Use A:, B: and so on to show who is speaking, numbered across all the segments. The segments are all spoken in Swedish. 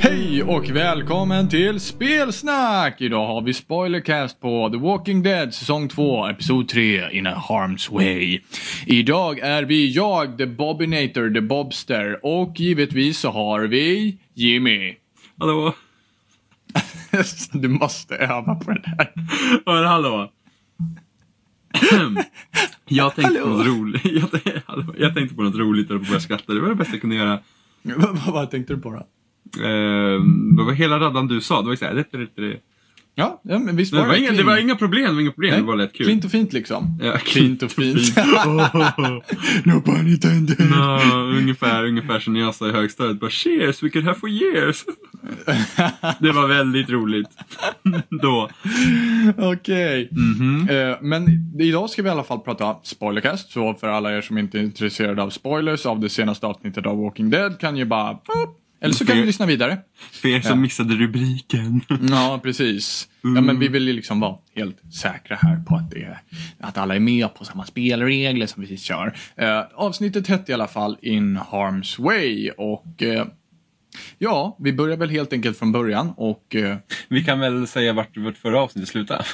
A: Hej och välkommen till Spelsnack! Idag har vi spoilercast på The Walking Dead säsong 2, episod 3, In a Harm's Way. Idag är vi jag, The Bobinator, The Bobster och givetvis så har vi Jimmy.
B: Hallå?
A: du måste öva på den här.
B: Var det hallå? jag, tänkte på
A: Hallå?
B: något roligt. Jag, tänkte- hallå? jag tänkte på något roligt och började skratta. Det var det bästa jag kunde göra.
A: Vad- vad- Vad tänkte du på då?
B: Ehm, det var hela raddan du sa. Det var ju såhär... Det, det, det. Nej,
A: Ja, ja men visst
B: Det, var inga,
A: clean.
B: det var inga problem. Det var inga problem.
A: Nej,
B: Det var lätt kul.
A: Klint och fint liksom.
B: Ja,
A: Klint och fint. no pun intended.
B: Ja, ungefär, ungefär som när jag sa i högstadiet. Bara cheers, we could have for years. det var väldigt roligt. Då.
A: Okej. Eh, Men idag ska vi i alla fall prata spoilercast. Så för alla er som inte är intresserade av spoilers av det senaste avsnittet av Walking Dead kan ju bara... Eller så kan ni lyssna vidare.
B: För er som missade rubriken.
A: Ja, precis. Ja, men vi vill ju liksom vara helt säkra här på att, det är, att alla är med på samma spelregler som vi kör. Eh, avsnittet hette i alla fall In Harm's Way och eh, ja, vi börjar väl helt enkelt från början och eh,
B: Vi kan väl säga vart vårt förra avsnitt slutade?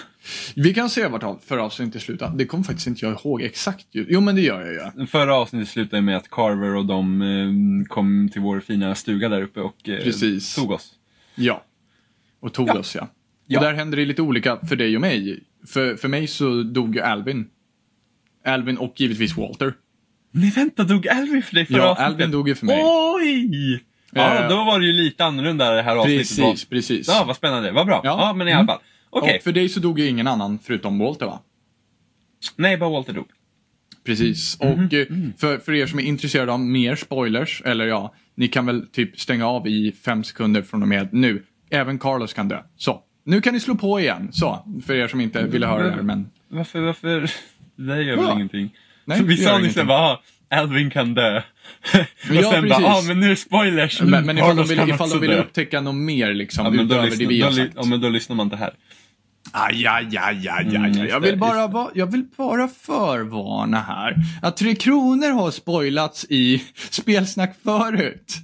A: Vi kan se vart av- för avsnittet slutar. Det kommer faktiskt inte jag ihåg exakt. ju. Jo, men det gör jag ju.
B: Förra avsnittet slutade med att Carver och de eh, kom till vår fina stuga där uppe och eh,
A: Precis.
B: tog oss.
A: Ja. Och tog oss, ja.
B: Ja.
A: Och där händer det lite olika för dig och mig. För, för mig så dog ju Alvin. Alvin och givetvis Walter.
B: Nej vänta, dog Alvin för dig förra
A: Ja,
B: avsnittet?
A: Alvin dog ju för mig.
B: Oj! Ja,
A: Eh,
B: då var det ju lite annorlunda det här avsnittet var.
A: precis, precis.
B: Ja, vad spännande. Vad bra.
A: Ja. Mm.
B: Ja, men i alla fall. Okej.
A: Och för dig så dog ju ingen annan förutom Walter, va?
B: Nej, bara Walter dog.
A: Precis.
B: Mhm,
A: Och eh,
B: mm.
A: För, för er som är intresserade av mer spoilers, eller ja, ni kan väl typ stänga av i fem sekunder från och med nu. Även Carlos kan dö. Så. Nu kan ni slå på igen. Så. För er som inte ville höra det här, men
B: Varför, varför? Det där gör
A: Ja.
B: väl ingenting.
A: Nej,
B: Så vi
A: det gör
B: sa nyss
A: ingenting.
B: bara, "Ah, Alvin kan dö. och
A: Ja,
B: sen bara,
A: precis.
B: ja ah, men nu är det spoilers.
A: Men, men ifall de
B: Carlos
A: vill,
B: kan
A: ifall de
B: Mm. också
A: vill
B: dö."
A: upptäcka något mer liksom,
B: Ja, men då
A: utöver det vi
B: lyssnar,
A: har
B: då, ly-
A: sagt.
B: ja, men då lyssnar man inte här.
A: Aj, aj, aj, aj, aj,
B: Mm,
A: aj.
B: just
A: Jag
B: det,
A: vill, bara,
B: just
A: va, jag vill bara förvarna här att Tre Kronor har spoilats i spelsnack förut.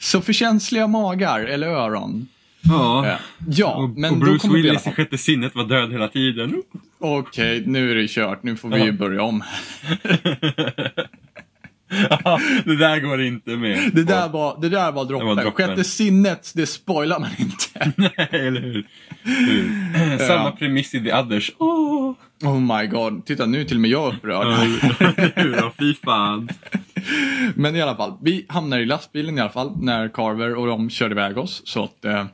A: Så för känsliga magar eller öron. Eh,
B: Ja.
A: Ja,
B: Och,
A: men
B: och
A: då
B: Bruce
A: kommer vi i alla
B: Willis i
A: fall.
B: sjätte sinnet var död hela tiden.
A: Okej, nu är det kört. Nu får vi ju
B: Ja.
A: börja om.
B: Ja, det där går inte med.
A: Det där var, det där var droppen.
B: droppen.
A: Sjätte sinnet, det spoilar man inte.
B: Nej, eller hur? hur? Samma premiss i The Others. Åh!
A: Oh my god. Titta, nu är till och med jag upprörd.
B: Ja, eller hur? Ja, fy fan.
A: Men i alla fall, vi hamnar i lastbilen i alla fall när Carver och de körde iväg oss. Så att eh,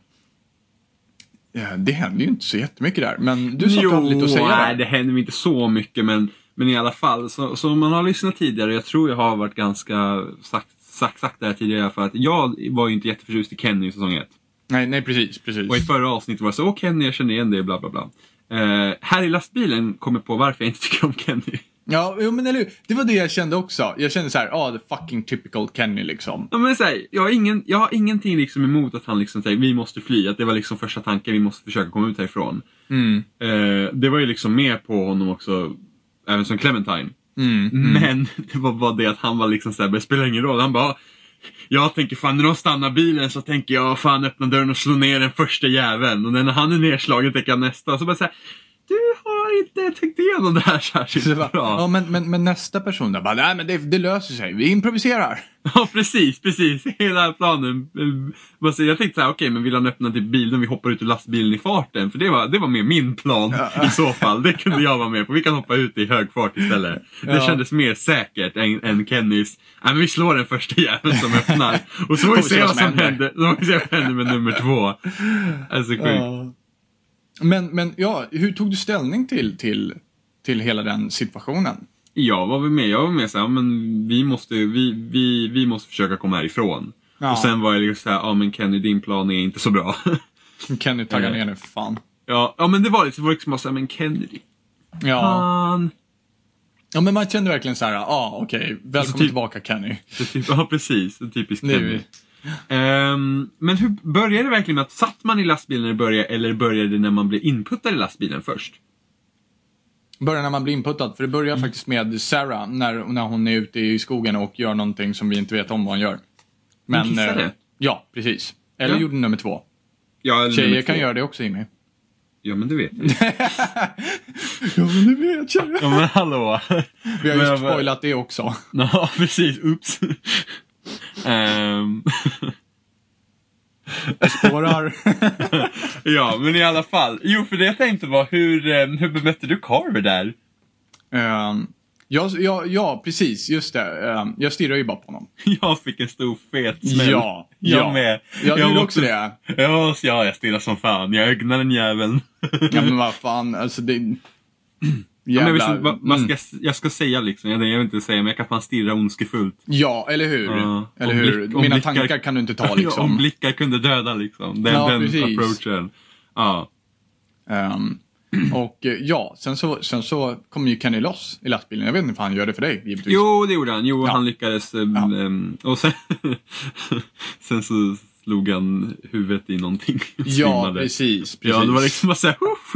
A: eh, det händer ju inte så jättemycket där. Men du sa att lite att säga
B: nej,
A: där.
B: det händer inte så mycket men, men i alla fall. Så, så om man har lyssnat tidigare, jag tror jag har varit ganska sagt, sagt, sagt det här tidigare i alla fall. Att jag var ju inte jätteförtjust i Kenny i säsong 1.
A: Nej, nej precis, precis.
B: Och i förra avsnittet var det så, åh Kenny, jag känner igen dig, bla bla bla. Eh, här i lastbilen kommer jag på varför jag inte tycker om Kenny.
A: Ja, jo, men eller hur? Det var det jag kände också. Jag kände så här, ja, the fucking typical Kenny liksom.
B: Ja, men så här, jag, har ingen, jag har ingenting liksom emot att han liksom säger vi måste fly. Att det var liksom första tanken, vi måste försöka komma ut härifrån.
A: Mm,
B: Eh, det var ju liksom med på honom också, även som Clementine.
A: mm,
B: Men det var bara det att han var liksom såhär, det spelar ingen roll. Han bara, jag tänker fan när de stannar bilen så tänker jag fan öppna dörren och slå ner den första jäveln. Och när han är nedslagen tänker jag nästa. Och så bara såhär, du har inte tänkt igenom det här
A: Så det
B: särskilt
A: bara,
B: bra.
A: ja, men, men, men nästa person där bara, nej men det, det löser sig, vi improviserar.
B: Ja precis, precis. Hela planen. eh, vad säger Jag Jag tänkte såhär, okej men vill han öppna typ bilen vi hoppar ut ur lastbilen i farten? För det var, det var mer min plan i så fall. Det kunde jag vara med på. Vi kan hoppa ut i hög fart istället. Det
A: Ja.
B: kändes mer säkert än, än Kennys, nej men vi slår den första jäveln som öppnar. Och så får vi se vad som händer. Så får vi se vad som händer med nummer två. Alltså sjukt.
A: Men, men ja, hur tog du ställning till, till, till hela den situationen?
B: Jag var väl med, jag var med såhär, ja, men vi måste, vi, vi, vi måste försöka komma härifrån.
A: Ja.
B: Och sen var jag liksom såhär, ja men Kenny din plan är inte så bra.
A: Kenny taggar
B: Eh.
A: ner nu för fan.
B: Ja, ja men det var lite, det var liksom bara såhär, men Kennedy,
A: Ja.
B: fan.
A: ja, men man kände verkligen så här, ja ah, okej, välkommen
B: Alltså, typ-
A: tillbaka Kenny.
B: Så typ, ja precis, en typisk
A: Nu.
B: Kennedy. Ehm, men hur började det verkligen med att, satt man i lastbilen när det började, eller började det när man blev inputtad i lastbilen först?
A: Börjar när man blir inputtad, för det börjar faktiskt med Sarah när, när hon är ute i skogen och gör någonting som vi inte vet om vad hon gör. Men,
B: kissade?
A: eh, ja, precis. Eller
B: Ja.
A: gjorde nummer två.
B: Ja, nummer
A: Tjejer
B: två.
A: kan göra det också Jimmy.
B: Ja, men du vet. ju.
A: Ja men du vet tjejer.
B: Ja, men hallå.
A: Vi har
B: Men eh, jag
A: ju
B: bara-
A: spoilat det också.
B: Ja, precis. Oops. Ehm,
A: Spårar.
B: ja, men i alla fall. Jo, för det jag tänkte var hur, eh, hur bemötte du Carver där?
A: Ehm, ja, ja, ja, precis. Just det. Ehm, jag stirrar ju bara på honom.
B: Jag fick en stor fet smäll.
A: Ja,
B: jag
A: ja.
B: med.
A: Jag gjorde
B: måste-
A: också det.
B: Ja, så ja, jag stirrar som fan. Jag ögnar den jäveln.
A: Ja men vad fan, alltså det...
B: Ja, men jag,
A: Jävlar.
B: visste inte vad, vad
A: Mm.
B: ska, jag ska säga liksom, jag, jag vill inte säga men jag kan fan stirra ondskefullt.
A: Ja, eller hur?
B: Ja,
A: eller
B: om
A: hur?
B: blick- om
A: Mina
B: blickar-
A: tankar kan du inte ta
B: Om
A: liksom.
B: blickar kunde döda liksom. Den,
A: Ja,
B: den
A: precis.
B: approachen. Ja.
A: Ehm, och eh, ja, sen så, sen så kommer ju Kenny loss i lastbilen. Jag vet inte om han gör det för dig, givetvis.
B: Jo, det gjorde han. Jo,
A: Ja.
B: han lyckades. ehm,
A: Ja.
B: ehm, och sen, sen så slog han huvudet i någonting. och
A: Ja,
B: svimmade.
A: precis. precis.
B: Ja, det var liksom bara såhär, woof!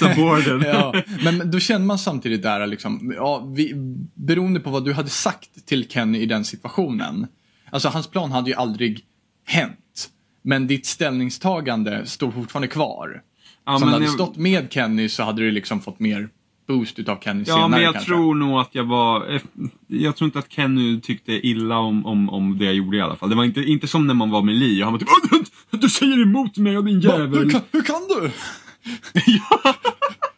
A: Ja.
B: aborted.
A: ja, men då känner man samtidigt där liksom, ja, vi, beroende på vad du hade sagt till Kenny i den situationen. Alltså hans plan hade ju aldrig hänt. Men ditt ställningstagande står fortfarande kvar.
B: Ja,
A: så om du
B: men
A: hade
B: jag-
A: stått med Kenny så hade du liksom fått mer boost utav Kenny senare
B: Ja, men jag
A: kanske.
B: tror nog att jag var... eh, Jag tror inte att Kenny tyckte illa om, om, om det jag gjorde i alla fall. Det var inte, inte som när man var med Li. Han var typ "Åh, du, du säger emot mig och din
A: Va, hur,
B: jävel!
A: kan, hur kan du?
B: ja,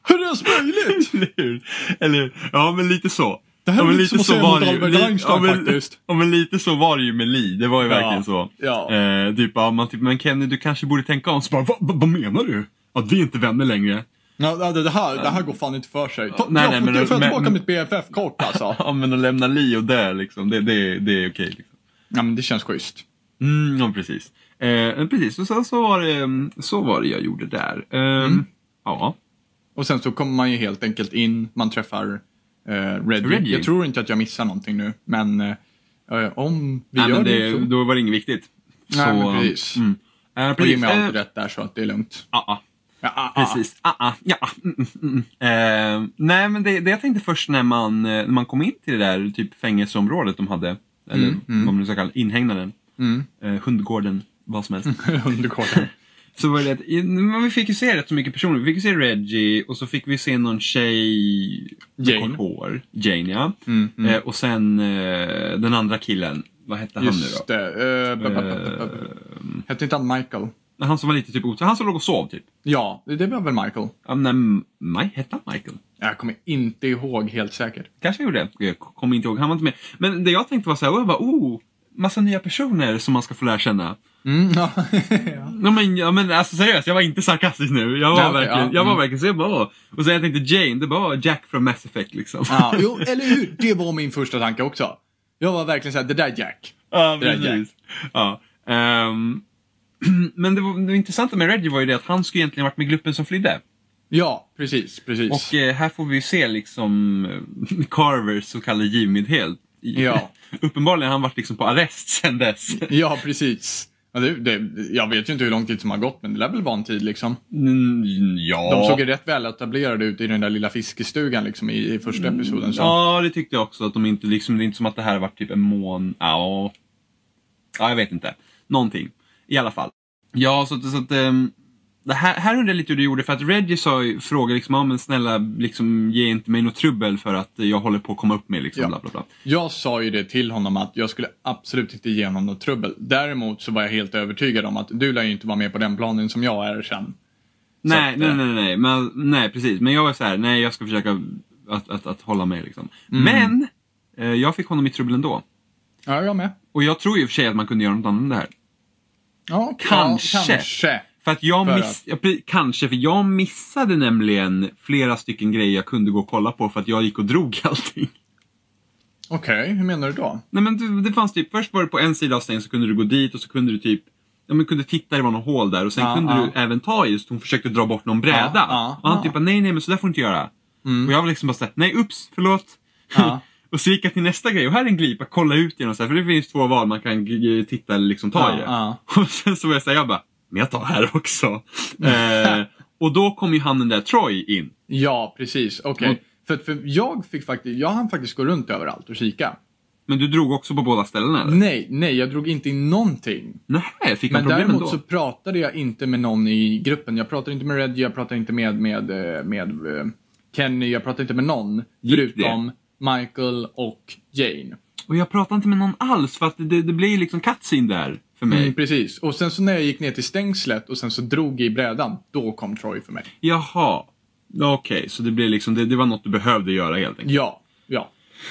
A: Hur är det ens möjligt?
B: eller hur? Eller hur? Ja, men lite så.
A: Det här
B: ja,
A: är
B: men
A: lite som att säga
B: var
A: emot
B: det ju.
A: Albert
B: Li-
A: Einstein
B: ja, men,
A: faktiskt.
B: Ja, men lite så var det ju med Li. Det var ju verkligen så.
A: ja.
B: Eh, typ, ja, man typ, men Kenny du kanske borde tänka om. Så bara, "Va- va- vad menar du? Att vi är inte vänner längre.
A: Ja, det, det, här, det här går fan inte för sig. Ta,
B: Nej,
A: jag
B: nej,
A: får,
B: men-
A: jag får
B: men-
A: tillbaka mitt BFF-kort alltså.
B: Ja, men att lämna Li och dö liksom, det, det, det är okej. Liksom.
A: ja, men det känns schysst.
B: Mm, ja, precis. Eh, men precis, och sen så var det, mm, så var det jag gjorde där. Eh,
A: Mm.
B: Ja.
A: Och sen så kommer man ju helt enkelt in, man träffar eh, Reggie.
B: Reggie.
A: Jag tror inte att jag missar någonting nu, men eh, om vi
B: Nej,
A: gör
B: men
A: det,
B: det,
A: så...
B: då var det inget viktigt.
A: Nej, men precis.
B: Mm. Eh,
A: Och
B: precis.
A: Jimmy har alltid
B: Eh,
A: rätt där så att det är lugnt.
B: ah, ah,
A: Ja, ah, ah.
B: precis. Ah, ah, ja, ah, mm, mm, mm. Eh, nej, men det, det jag tänkte först när man, eh, när man kom in till det där typ fängelseområdet de hade, eller
A: Mm, mm.
B: vad man nu ska kalla inhägnaden,
A: Mm.
B: eh, hundgården, vad som helst.
A: Undergården.
B: Så var det att, men vi fick ju se rätt så mycket personer. Vi fick ju se Reggie och så fick vi se någon tjej med
A: Jane.
B: kort hår. Jane ja.
A: Mm, mm.
B: Eh, och sen eh, den andra killen. Vad hette han
A: Just
B: nu
A: det. Eh,
B: då?
A: bu- bu- bu- bu- bu- Hette inte han Michael?
B: Eh, han som var lite typ otur. Han som låg och sov typ.
A: Ja, det var väl Michael.
B: Ja, nej, M- Mike, hette han Michael?
A: Jag kommer inte ihåg helt säkert.
B: Kanske gjorde det. Jag kommer inte ihåg. Han var inte med. Men det jag tänkte var så här, oh, jag bara, oh, massa nya personer som man ska få lära känna.
A: Mm, ja.
B: Ja men, ja, men alltså seriöst, jag var inte sarkastisk nu. Jag var
A: Ja, okej,
B: verkligen,
A: ja.
B: jag var
A: Mm.
B: verkligen så jag bara, åh. Och sen jag tänkte Jane, det var Jack från Mass Effect liksom.
A: ja, jo, eller hur? Det var min första tanke också. Jag var verkligen såhär, det där Jack.
B: Ja,
A: Det där
B: precis. Ja. Ehm, men det, var, det intressanta med Reggie var ju det att han skulle egentligen varit med gruppen som flydde.
A: Ja, precis, precis.
B: Och eh, här får vi ju se liksom eh, Carvers så kallade givmildhet. I-
A: Ja.
B: Uppenbarligen har han varit liksom på arrest sen dess.
A: Ja, precis. Ja, det, det, jag vet ju inte hur lång tid som har gått, men det lär väl vara en tid liksom.
B: Mm, ja.
A: De såg ju rätt väl etablerade ut i den där lilla fiskestugan liksom i, i första episoden. Så.
B: Ja, det tyckte jag också. Att de inte, liksom, det är inte som att det här har varit typ en mån... Ja, ja jag vet inte. Någonting. I alla fall. Ja, så, att- så att... ehm, det här, här undrar jag lite hur du gjorde, för att Reggie sa, ju- frågade liksom, ja men snälla, liksom, ge inte mig något trubbel för att jag håller på att komma upp med liksom,
A: Ja.
B: bla bla bla.
A: Jag sa ju det till honom att jag skulle absolut inte ge honom något trubbel. Däremot så var jag helt övertygad om att du lär ju inte vara med på den planen som jag är sen.
B: Nej,
A: att,
B: nej,
A: eh,
B: nej, nej, men, nej, precis. Men jag var så här, nej, jag ska försöka att, att, att hålla mig liksom.
A: Mm.
B: Men! Eh, jag fick honom i trubbel ändå.
A: Ja, jag med.
B: Och jag tror ju i och för sig att man kunde göra något annat med det här.
A: Ja,
B: Kanske.
A: Ja, kanske.
B: För att jag
A: För
B: miss,
A: att-
B: ja, pre- kanske, för jag missade nämligen flera stycken grejer jag kunde gå och kolla på för att jag gick och drog allting.
A: Okej, hur menar du då?
B: Nej men det, det fanns typ, först var det på en sida av stängen så kunde du gå dit och så kunde du typ Ja men kunde titta, det var någon hål där och sen
A: Ja,
B: kunde
A: ja.
B: du även ta i, just hon försökte dra bort någon bräda.
A: ja,
B: och han
A: ja.
B: typ bara, nej nej men så där får du inte göra.
A: Mm.
B: Och jag var liksom bara såhär, nej ups, förlåt.
A: Ja.
B: och så gick jag till nästa grej och här är en glipa, kolla ut genom så här, för det finns två val man kan g- titta eller liksom ta
A: Ja,
B: i det.
A: ja.
B: Och sen så var jag såhär, jag bara, men jag tar här också. eh, och då kom ju han den där Troy in.
A: Ja, precis. Okej.
B: Mm.
A: För, för jag fick faktiskt, jag hann faktiskt gå runt överallt och kika.
B: Men du drog också på båda ställena eller?
A: Nej, nej, jag drog inte in någonting.
B: Nej, fick man
A: Mm. Men
B: problem
A: däremot
B: ändå?
A: så pratade jag inte med någon i gruppen. Jag pratade inte med Reggie, jag pratade inte med, med, eh, med, eh, Kenny, jag pratade inte med någon.
B: Gick det?
A: förutom Michael och Jane.
B: Och jag pratar inte med någon alls för att det, det blir liksom cutscene där för mig.
A: Mm, precis. Och sen så när jag gick ner till stängslet och sen så drog i brädan, då kom Troy för mig.
B: Jaha. Okej, så det, blir liksom, det, det var något du behövde göra helt enkelt.
A: Ja, ja. Mm.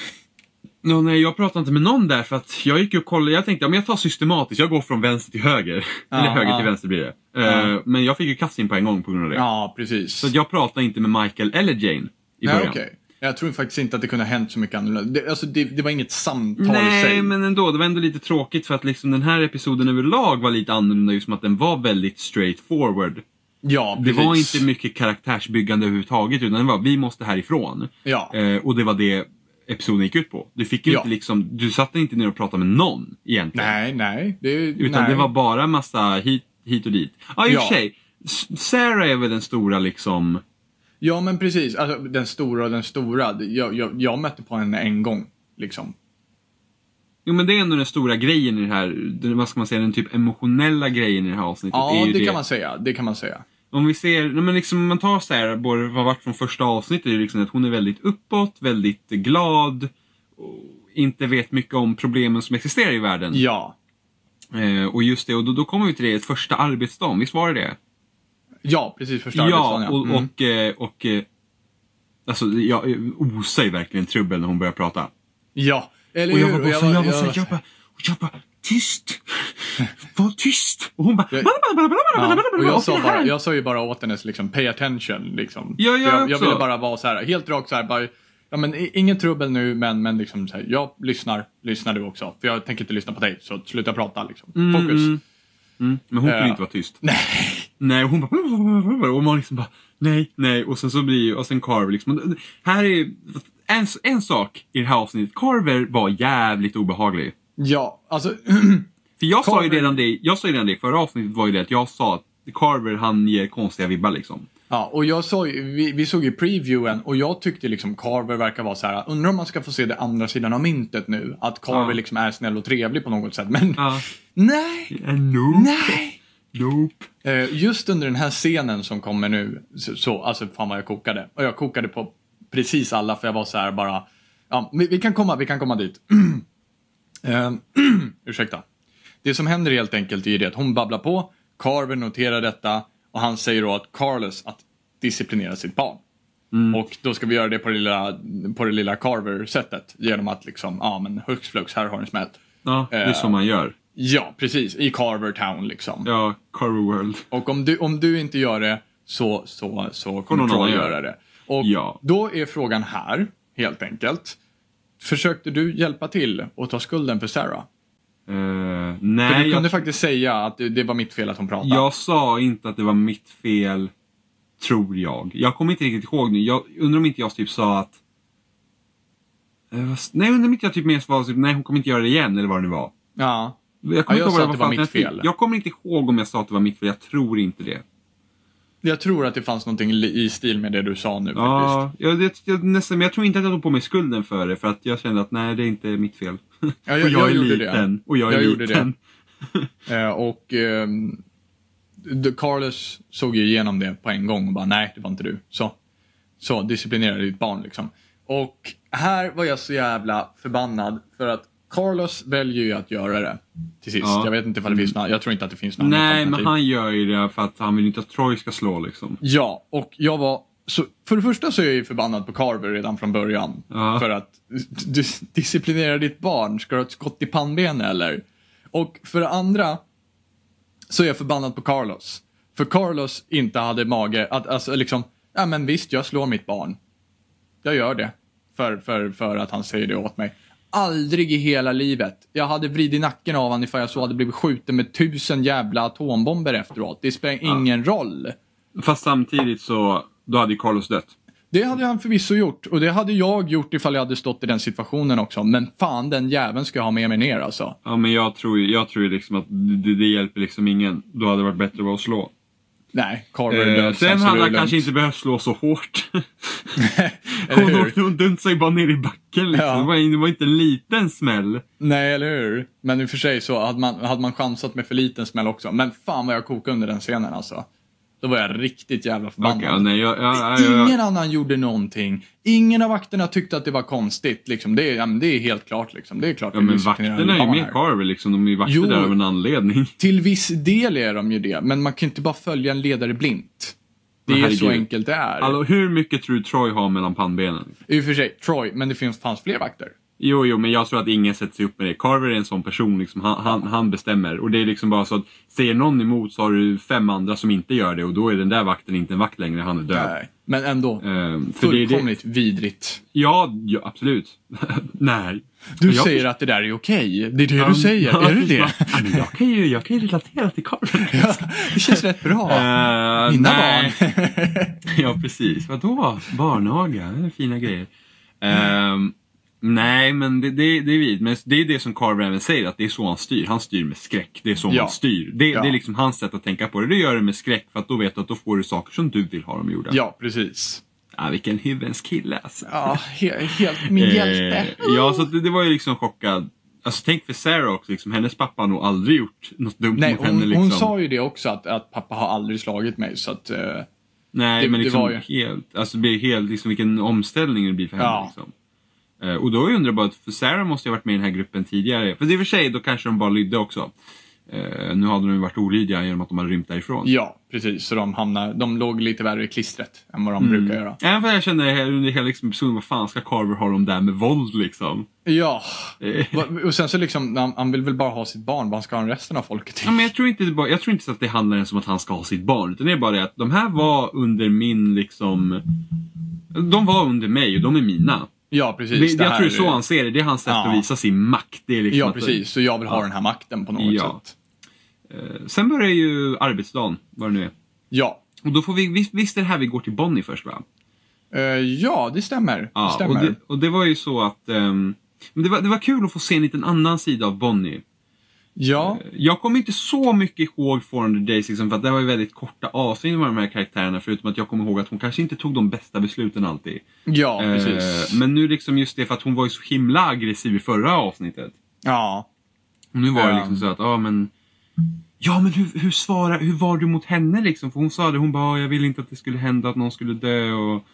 B: Nå, nej, jag pratade inte med någon där för att jag gick ju och kollade. Jag tänkte om jag tar systematiskt, jag går från vänster till höger. Eller
A: Ja,
B: höger
A: ja.
B: till vänster blir det.
A: Ja.
B: Eh, men jag fick ju cutscene på en gång på grund av det.
A: Ja, precis.
B: Så att jag pratade inte med Michael eller Jane i
A: Nej,
B: början.
A: okej. Jag tror faktiskt inte att det kunde ha hänt så mycket annorlunda. Det, alltså, det, det var inget samtal i sig.
B: Nej, men ändå. Det var ändå lite tråkigt för att liksom den här episoden överlag var lite annorlunda just med att den var väldigt straight forward.
A: Ja,
B: Det
A: precis.
B: var inte mycket karaktärsbyggande överhuvudtaget utan det var vi måste härifrån.
A: Ja.
B: Eh, och det var det episoden gick ut på. Du fick ju
A: Ja.
B: inte liksom, du satt inte ner och pratade med någon egentligen.
A: Nej, nej. Det,
B: Utan
A: nej.
B: det var bara massa hit, hit och dit. Ja, i och
A: Ja.
B: för sig. S- Sarah är väl den stora liksom...
A: Ja, men precis. Alltså, den stora och den stora. Det- Jag, jag, jag mötte på henne en gång. Liksom.
B: Jo men det är ändå den stora grejen i det här, den, vad ska man säga, den typ emotionella grejen i det här avsnittet. är
A: Ja,
B: ju
A: det kan man säga. Det kan man säga.
B: Om vi ser, nej, men liksom, om man tar Sarah, både vad vart från första avsnittet, är det liksom att hon är väldigt uppåt, väldigt glad. och Inte vet mycket om problemen som existerar i världen.
A: Ja.
B: Eh, och just det, och då, då kommer vi till det, ett första arbetsdagen, visst var det det?
A: Ja, precis. Första
B: Ja,
A: arbetsdagen,
B: och,
A: Mm.
B: och, eh, och eh, Alltså jag eh, osar ju verkligen trubbel när hon börjar prata.
A: ja. Eller
B: Och jag
A: hur?
B: var bara så, jag var så, jag bara, och jag bara, tyst! Var tyst! Och hon bara,
A: Jag-
B: "Bada, bada, bada, bada, bada,
A: Ja,
B: bada,
A: och
B: bada,
A: jag,
B: vad är
A: sa
B: det här?"
A: bara, jag sa ju bara åt henne liksom, pay attention. Liksom.
B: Ja, jag
A: För jag, jag
B: också.
A: ville bara vara så här, helt rakt så här, bara, ja, men, i- inget trubbel nu, men, men liksom, så här, jag lyssnar, lyssnar du också. För jag tänker inte lyssna på dig, så sluta prata. Liksom. Fokus.
B: mm. Mm, men hon kunde
A: Ja.
B: inte vara tyst.
A: Nej.
B: Nej, och hon bara... "Bada, bada, bada, bada." Och man liksom bara, nej, nej. Och sen så blir ju, och sen Carver liksom. Här är en, en sak i det här avsnittet. Carver var jävligt obehaglig.
A: Ja, alltså,
B: För jag sa ju
A: Carver-
B: redan det, jag sa ju redan det i förra avsnittet var ju det att jag sa att Carver han ger konstiga vibbar liksom.
A: ja, och jag såg, ju- vi, vi såg ju previewen och jag tyckte liksom Carver verkar vara så här, undrar om man ska få se det andra sidan av myntet nu. Att Carver
B: Ja.
A: liksom är snäll och trevlig på något sätt. Men
B: Ja.
A: nej,
B: Eh, Nope.
A: nej.
B: Nope.
A: Eh, Just under den här scenen som kommer nu, så, så alltså fan vad jag kokade. Och jag kokade på precis alla för jag var så här bara, ja, vi, vi kan komma, vi kan komma dit. Eh, Ursäkta. Det som händer helt enkelt är ju det att hon babblar på, Carver noterar detta och han säger då att Carlos att disciplinera sitt barn. Och då ska vi göra det på det lilla, på det lilla Carver-sättet genom att liksom, ja men hux flux, här har du en smäll.
B: Ja, det
A: Eh.
B: är så man gör.
A: Ja, precis, i Carver Town liksom.
B: Ja, Carver World.
A: Och om du, om du inte gör det så, så, så kommer
B: någon
A: Troy
B: annan
A: göra
B: göra
A: det. Och
B: Ja.
A: då är frågan här, helt enkelt. Försökte du hjälpa till och ta skulden för Sarah?
B: Eh,
A: För du
B: nej,
A: kunde
B: jag,
A: faktiskt säga att det- det var mitt fel att hon pratade.
B: jag sa inte att det var mitt fel. Tror jag. Jag kommer inte riktigt ihåg nu. Jag undrar om inte jag typ sa att... Eh, vad s- nej, undrar om inte jag typ mer sa typ, nej hon kommer inte göra det igen eller vad det nu var.
A: Ja.
B: Jag
A: Ja,
B: kommer
A: jag
B: inte ihåg
A: sa att
B: vad
A: det var
B: fan
A: mitt
B: jag tyckte.
A: fel.
B: Jag kommer inte ihåg om jag sa att det var mitt fel. Jag tror inte det.
A: Jag tror att det fanns någonting li- i stil med det du sa nu faktiskt.
B: Ja, jag, det, jag, nästan, men jag tror inte att jag tog på mig skulden för det för att jag kände att nej, det är inte mitt fel.
A: Ja, jag-
B: och jag,
A: jag
B: är
A: gjorde det.
B: liten. Och jag är
A: Jag gjorde
B: liten.
A: Eh, och ehm, the Carlos såg ju igenom det på en gång och bara nej, det var inte du. Så, så disciplinera ditt barn liksom. Och här var jag så jävla förbannad för att Carlos väljer ju att göra det till sist.
B: Ja. Mm.
A: Jag vet inte ifall det finns några, jag tror inte att det finns några
B: Nej,
A: alternativ.
B: men han gör ju det för att han vill inte att Troy ska slå liksom.
A: Ja, och jag var... Så, för det första så är jag ju förbannad på Carver redan från början.
B: Ja.
A: För att du disciplinerar ditt barn. Ska du ha ett skott i pannbenet eller? Och för det andra så är jag förbannad på Carlos. För Carlos inte hade mage att alltså, liksom, ja men visst jag slår mitt barn. Jag gör det. För, för, för att han säger det åt mig. Aldrig i hela livet. Jag hade vridit nacken av honom ifall jag så hade blivit skjuten med tusen jävla atombomber efteråt. Det spelar ingen roll.
B: Fast samtidigt så, då hade ju Carlos dött.
A: Det hade han förvisso gjort och det hade jag gjort ifall jag hade stått i den situationen också. Men fan den jäveln ska jag ha med mig ner alltså.
B: Ja, men jag tror ju jag tror ju liksom att det, det hjälper liksom ingen. Då hade det varit bättre att bara slå.
A: Nej, Carver
B: Eh,
A: död.
B: sen
A: så
B: hade
A: det är
B: han kanske
A: lugnt.
B: inte behövt slå så hårt.
A: Eller
B: hon,
A: hur?
B: åkte, hon dunsade ju bara ner i backen liksom.
A: Ja.
B: Det, var, det var inte en liten smäll.
A: Nej, eller hur? Men i och för sig så hade man, hade man chansat med för liten smäll också. Men fan vad jag kokade under den scenen alltså. Då var jag riktigt jävla förbannad.
B: Okej, ja, nej, jag, jag, jag, jag,
A: Ingen annan gjorde någonting. Ingen av vakterna tyckte att det var konstigt. Liksom. Det, är, ja, men det är helt klart. Liksom. Det är klart
B: ja,
A: vi
B: men
A: disciplinerar
B: vakterna är ju
A: barn
B: med
A: här.
B: Carver liksom. De är ju vakter
A: Jo.
B: där av en anledning.
A: Till viss del är de ju det, men man kan inte bara följa en ledare blint. Det
B: Men
A: är så
B: herregud.
A: enkelt det är.
B: Alltså, hur mycket tror du Troy har mellan pannbenen?
A: I och för sig, Troy, men det finns, fanns fler vakter.
B: Jo, jo, men jag tror att ingen sätter sig upp med det. Carver är en sån person, liksom, han, han, han bestämmer. Och det är liksom bara så att säger någon emot så har du fem andra som inte gör det och då är den där vakten inte en vakt längre, han är död.
A: Nej. Men ändå,
B: Ehm, för det är det,
A: fullkomligt vidrigt.
B: ja, ja, absolut. Nej.
A: Du
B: Jag-
A: säger att det där är okej. Det är det
B: Um,
A: du säger.
B: ja,
A: är det det?
B: precis. Ja, men jag, kan ju, jag kan ju relatera till Carver.
A: Ja, det känns rätt bra. Mina
B: Eh, nej.
A: barn.
B: ja, precis. Vadå? Barnaga? Det är Fina grejer. Ehm, nej, men det, det, det är vid. Men det är det som Carver även säger, att det är så han styr. Han styr med skräck. Det är så
A: Ja.
B: han styr. Det,
A: Ja.
B: det är liksom hans sätt att tänka på det. Du gör det med skräck för att då vet du att då får du saker som du vill ha dem gjorda.
A: ja, precis.
B: Ah, vilken hyvens kille alltså.
A: Ja, he- helt min
B: Eh,
A: hjälte.
B: ja, så att det, det var ju liksom chockad. Alltså tänk för Sarah också, liksom, hennes pappa har nog aldrig gjort något dumt
A: Nej,
B: mot
A: hon,
B: henne. Liksom.
A: hon sa ju det också att, att pappa har aldrig slagit mig så att... eh,
B: Nej,
A: Det-
B: men
A: det
B: liksom
A: var ju-
B: helt, alltså det blir helt, liksom vilken omställning det blir för henne.
A: Ja.
B: Liksom. Eh, och då undrar jag bara, för Sarah måste ju ha varit med i den här gruppen tidigare. För i och för sig, då kanske de bara lydde också. Eh, nu hade de ju varit olydiga genom att de hade rymt därifrån.
A: ja, precis. Så de, hamnar, de låg lite värre i klistret än vad de
B: Mm.
A: brukar göra.
B: Även för jag kände här under hela liksom, episoden, vad fan ska Carver ha dem där med våld liksom?
A: Ja.
B: Eh,
A: Va- Och sen så liksom, han, han vill väl bara ha sitt barn. Vad ska han resten av folket till?
B: Ja, men jag, tror inte, det bara- jag tror inte så att det handlar ens om att han ska ha sitt barn. Utan det är bara det att de här var under min liksom... De var under mig och de är mina.
A: Ja, precis.
B: Det,
A: det
B: jag
A: här
B: tror
A: är-
B: så han ser det. Det är hans sätt
A: Ja.
B: att visa sin makt. Det är liksom
A: Ja,
B: att-
A: precis. Så jag vill ha den här makten på något
B: Ja.
A: sätt.
B: eh, Sen börjar ju arbetsdagen, vad det nu är.
A: Ja.
B: Och då får vi, visst, visst är det här vi går till Bonnie först va?
A: Eh, ja, det stämmer. det
B: Ja, och
A: stämmer.
B: det, och det var ju så att ehm, men det, var, det var kul att få se en liten annan sida av Bonnie.
A: Ja,
B: Jag kommer inte så mycket ihåg Foreign the Days liksom, för att det var ju väldigt korta avsnitt med de här karaktärerna förutom att jag kommer ihåg att hon kanske inte tog de bästa besluten alltid.
A: ja
B: Eh,
A: precis.
B: Men nu liksom just det för att hon var ju så himla aggressiv i förra avsnittet.
A: Ja.
B: Och nu var det
A: Ja.
B: liksom så att, ja men... Ja men hur, hur svarar, hur var du mot henne liksom? För hon sa det, hon bara, "Ja, jag ville inte att det skulle hända att någon skulle dö och,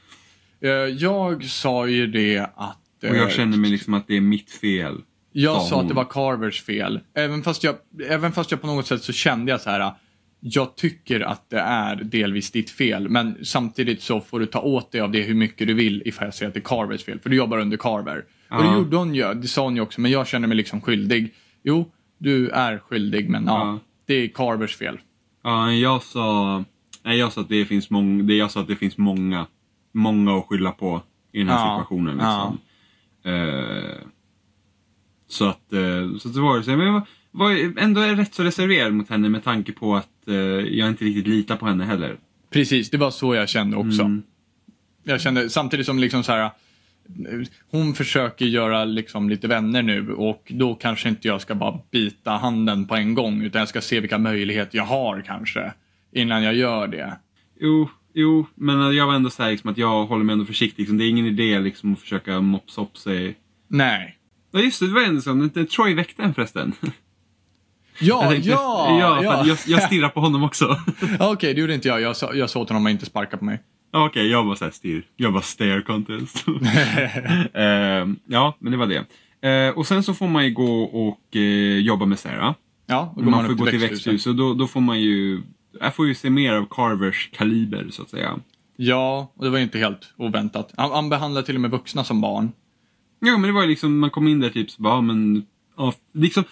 A: Eh, jag sa ju det att... eh,
B: och jag känner mig liksom att det är mitt fel.
A: Jag
B: sa
A: sa att det
B: hon.
A: var Carvers fel. Även fast, jag, även fast jag på något sätt så kände jag så här. Jag tycker att det är delvis ditt fel men samtidigt så får du ta åt dig av det hur mycket du vill ifall jag säger att det är Carvers fel. För du jobbar under Carver. Och
B: Ja.
A: det gjorde hon ju. Det sa hon ju också. Men jag känner mig liksom skyldig. Jo, du är skyldig men ja.
B: Ja.
A: det är Carvers fel.
B: Ja, men jag sa... Nej, jag sa att det finns, mång, det, jag sa att det finns många, många att skylla på i den här
A: Ja,
B: situationen.
A: ja.
B: Liksom. Eh, så att, eh, så att det var det. Så, men jag var, var ändå rätt så reserverad mot henne med tanke på att eh, jag inte riktigt litar på henne heller.
A: Precis, det var så jag kände också.
B: Mm.
A: Jag kände samtidigt som liksom så här. Hon försöker göra liksom lite vänner nu och då kanske inte jag ska bara bita handen på en gång utan jag ska se vilka möjligheter jag har kanske. Innan jag gör det.
B: Jo, jo, men jag var ändå så här, liksom, att jag håller mig ändå försiktig. Liksom. Det är ingen idé liksom, att försöka mopsa upp sig.
A: Nej.
B: Ja just det, det var ändå så. men det- Troy väckte en förresten.
A: Ja,
B: Jag tänkte-
A: ja,
B: ja,
A: ja.
B: fan, Jag, jag stirrar på honom också.
A: Okej, det gjorde inte jag. Jag sa, jag sa åt honom att inte sparka på mig.
B: Ja, Okej, jag bara såhär stirr. Jag bara stare contest. Ehm, ja, men det var det. Eh, och sen så får man ju gå och eh, jobba med Sarah.
A: Ja, och
B: Man, får gå till växthuset och då, då får man ju... Jag får ju se mer av Carvers kaliber så att säga.
A: Ja, och det var ju inte helt oväntat. Han, han behandlar till och med vuxna som barn.
B: Ja, men det var ju liksom, man kom in där typ så bara, ja, men... Ja, liksom,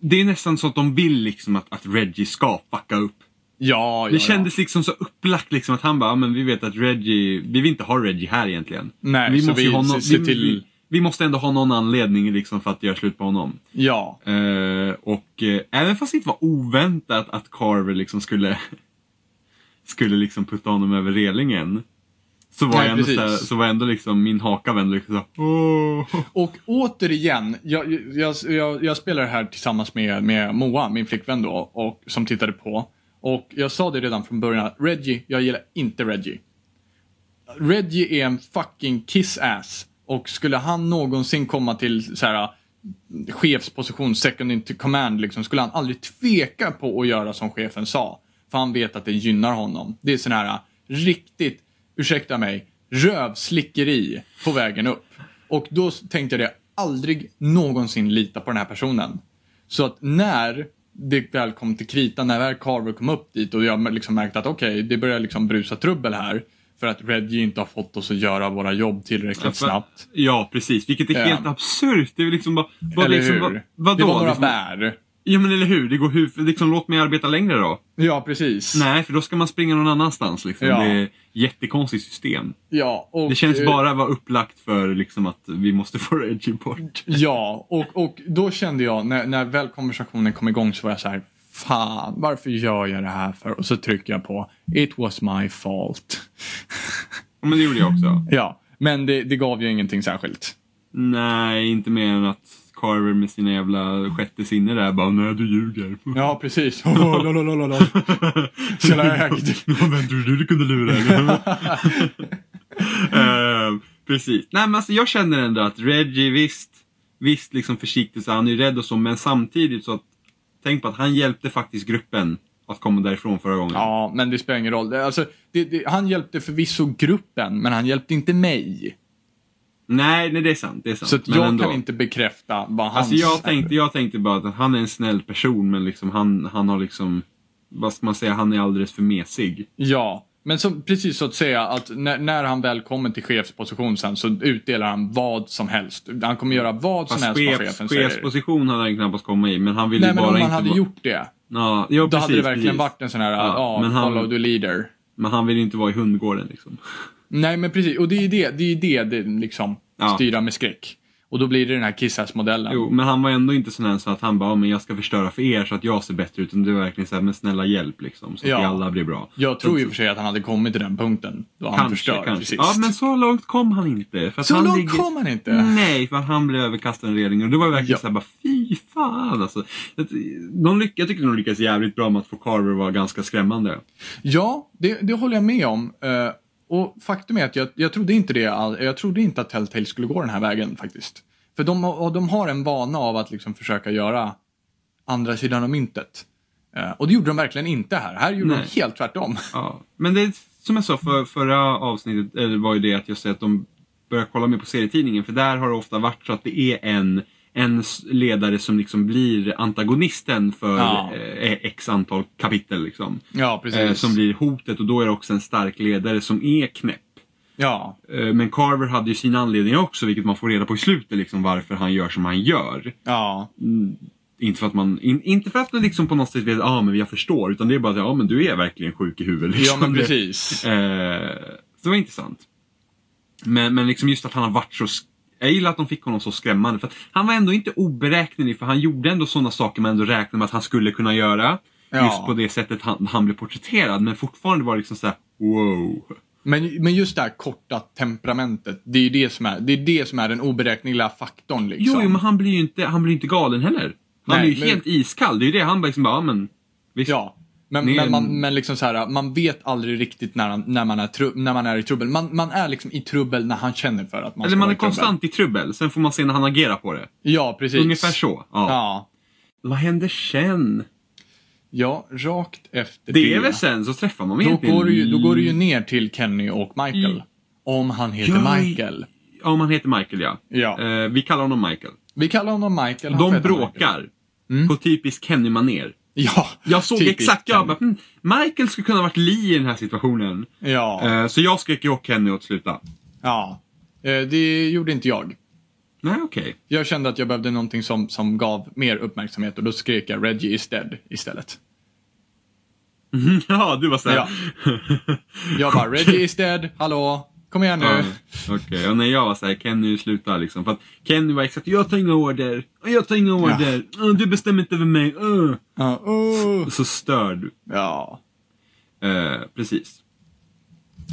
B: det är nästan så att de vill liksom att, att Reggie ska fucka upp.
A: Ja, ja,
B: Det
A: ja.
B: kändes liksom så upplagt liksom att han bara, "Ja, men vi vet att Reggie, vi vill inte ha Reggie här egentligen.
A: Nej, så vi
B: någon-
A: ser
B: vi,
A: till-
B: vi, vi måste ändå ha någon anledning liksom för att göra slut på honom.
A: Ja.
B: Eh, och eh, även fast det inte var oväntat att Carver liksom skulle, skulle liksom putta honom över relingen. Så var,
A: Nej,
B: jag ändå,
A: precis.
B: så, här, så var jag ändå liksom, min haka var ändå liksom så här, "Åh."
A: Och återigen, jag, jag, jag, jag spelar det här tillsammans med, med Moa, min flickvän då, och, som tittade på. Och jag sa det redan från början, att Reggie, jag gillar inte Reggie. Reggie är en fucking kiss-ass. Och skulle han någonsin komma till så här eh, chefsposition, second in command, liksom, skulle han aldrig tveka på att göra som chefen sa. För han vet att det gynnar honom. Det är sån här eh, riktigt, ursäkta mig, rövslickeri på vägen upp. Och då tänkte jag det, aldrig någonsin lita på den här personen. Så att när det väl kom till kritan, när väl Carver kom upp dit och jag liksom märkte att okej, det börjar liksom brusa trubbel här. För att Reggie inte har fått oss att göra våra jobb tillräckligt
B: Ja, för-
A: snabbt.
B: Ja, precis. Vilket är
A: Ja.
B: helt absurt. Det är liksom bara... bara
A: Eller
B: liksom,
A: hur?
B: vad- vadå?
A: det var några
B: liksom,
A: bär.
B: Ja, men eller hur? Det går hur... Liksom, låt mig arbeta längre då.
A: Ja, precis.
B: Nej, för då ska man springa någon annanstans. Liksom.
A: Ja.
B: Det är ett jättekonstigt system.
A: Ja, och,
B: Det känns
A: eh,
B: bara vara upplagt för liksom, att vi måste få Reggie bort.
A: eh, Ja, och, och då kände jag när, när väl konversationen kom igång så var jag så här. Fan, varför gör jag det här för? Och så trycker jag på It was my fault.
B: Ja, Men det gjorde jag också.
A: Ja, men det, det gav ju ingenting särskilt.
B: Nej, inte mer än att Carver med sina jävla sjätte sinne där bara Nej, du ljuger.
A: Ja, precis. Oh, lo, lo, lo, lo, lo. Så jävla högt.
B: Vad väntar du du kunde lura henne? Eh, precis. Nej men alltså jag känner ändå att Reggie, visst, visst liksom försiktig så han är ju rädd och så men samtidigt så att Tänk på att han hjälpte faktiskt gruppen att komma därifrån förra gången.
A: Ja, men det spelar ingen roll. Det- Alltså, det, det, han hjälpte förvisso gruppen, men han hjälpte inte mig.
B: Nej, nej det är sant. Det är sant.
A: Så att
B: Men
A: jag
B: ändå.
A: kan inte bekräfta vad hans...
B: Alltså jag tänkte, jag tänkte bara att han är en snäll person men liksom han, han har liksom, vad ska man säga, han är alldeles för mesig.
A: Ja, men som, precis så att säga att när, när han väl kommer till chefsposition sen så utdelar han vad som helst. Han kommer göra vad som
B: Fast
A: helst vad
B: chefs,
A: chefen säger.
B: chefsposition hade han knappast komma i men han ville
A: Nej
B: ju
A: men
B: bara
A: om
B: inte
A: han hade
B: vara-
A: gjort det,
B: Ja, ja,
A: då
B: precis,
A: hade det verkligen
B: precis.
A: varit en sån här,
B: Ja,
A: ja,
B: men han-
A: follow the leader.
B: Men han vill ju inte vara i hundgården liksom.
A: Nej men precis, och det är ju det, det, är ju det, det liksom
B: Ja.
A: styra med skräck. Och då blir det den här kissass-modellen.
B: Jo, men han var ändå inte sån här så att han bara, "Ja, men jag ska förstöra för er så att jag ser bättre ut. Utan det var verkligen så här, men snälla hjälp liksom. Så att
A: Ja.
B: vi alla blir bra.
A: Jag tror ju i och för sig att han hade kommit till den punkten då han förstör till sist.
B: Ja, men så långt kom han inte. För att
A: så
B: han
A: långt
B: ligger... Mm.
A: kom han inte!
B: Nej, för att han blev överkastad en redning. Och det var verkligen
A: Ja.
B: så här, bara, fy fan alltså. Att De lyck... Jag tycker de lyckades jävligt bra med att få Carver att vara ganska skrämmande.
A: Ja, det, det håller jag med om. Eh, och faktum är att jag, jag trodde inte det all, Jag trodde inte att Telltale skulle gå den här vägen faktiskt. För de, har- och de har en vana av att liksom försöka göra andra sidan av myntet. Eh, och det gjorde de verkligen inte här. Här gjorde
B: Nej.
A: de helt tvärtom.
B: Ja, men det är som jag sa för, förra avsnittet, eller var ju det att jag sa att de börjar kolla mer på serietidningen för där har det ofta varit så att det är en, en s- ledare som liksom blir antagonisten för
A: Ja.
B: eh, x antal kapitel liksom.
A: Ja,
B: Eh, som blir hotet och då är det också en stark ledare som är knäpp.
A: Ja,
B: Eh, men Carver hade ju sina anledningar också vilket man får reda på i slutet liksom varför han gör som han gör.
A: ja.
B: Mm, Inte för att man, in, inte för att man liksom på något sätt vet, ja ah, men jag förstår, utan det är bara att, ja ah, men du är verkligen sjuk i huvudet.
A: Ja,
B: Liksom.
A: men
B: Det-
A: precis.
B: Eh, så det var intressant. Men, men liksom just att han har varit så... sk- Jag gillar att de fick honom så skrämmande. För att han var ändå inte oberäknelig för han gjorde ändå sådana saker man ändå räknade med att han skulle kunna göra.
A: Ja.
B: Just på det sättet han, han blev porträtterad. Men fortfarande var det liksom såhär wow.
A: Men, men just det här korta temperamentet. Det är ju det som är, det är, det som är den oberäkneliga faktorn
B: Jo,
A: liksom.
B: jo, men han blir ju inte, han blir ju inte galen heller. Han
A: Nej,
B: blir ju
A: men-
B: helt iskall. Det är ju det. Han bara liksom bara, ja men. Visst.
A: Ja. Men,
B: Ni-
A: men, man, men liksom så här, man vet aldrig riktigt när, han- när, man, är tru, när man är i trubbel. Man, man är liksom i trubbel när han känner för att man
B: Eller
A: ska
B: man
A: vara
B: är
A: i trubbel.
B: konstant i trubbel. Sen får man se när han agerar på det.
A: Ja, precis.
B: Ungefär så. Ja.
A: Ja.
B: Vad händer sen?
A: Ja, rakt efter det.
B: Det är väl sen så träffar man
A: då,
B: egentligen
A: går det ju, då går det ju ner till Kenny och Michael.
B: Mm.
A: Om han heter
B: Ja, i-
A: Michael.
B: Ja, om han heter Michael ja.
A: Ja.
B: Eh, vi kallar honom Michael.
A: Vi kallar honom Michael. han får
B: De
A: heta Michael.
B: bråkar. På typisk Kenny-manér.
A: Ja.
B: Jag såg
A: typiskt
B: exakt, jag
A: Kenny.
B: bara, "Hmm, Michael skulle kunna varit Lee i den här situationen.
A: Ja.
B: Eh, så jag skrek ju åt Kenny att sluta.
A: ja. Eh, Det gjorde inte jag.
B: Nej, okej.
A: Jag kände att jag behövde någonting som, som gav mer uppmärksamhet och då skrek jag Reggie is dead istället.
B: ja, du var såhär.
A: Ja. Jag bara Reggie is dead, hallå, kom igen nu.
B: Ja, Okej, och när jag var såhär, Kenny sluta liksom. För att Kenny var exakt, jag tar inga order. Jag tar inga order. Eh, Du bestämmer inte över mig. eh."
A: Ja, oh.
B: Så störd.
A: ja.
B: Eh, precis.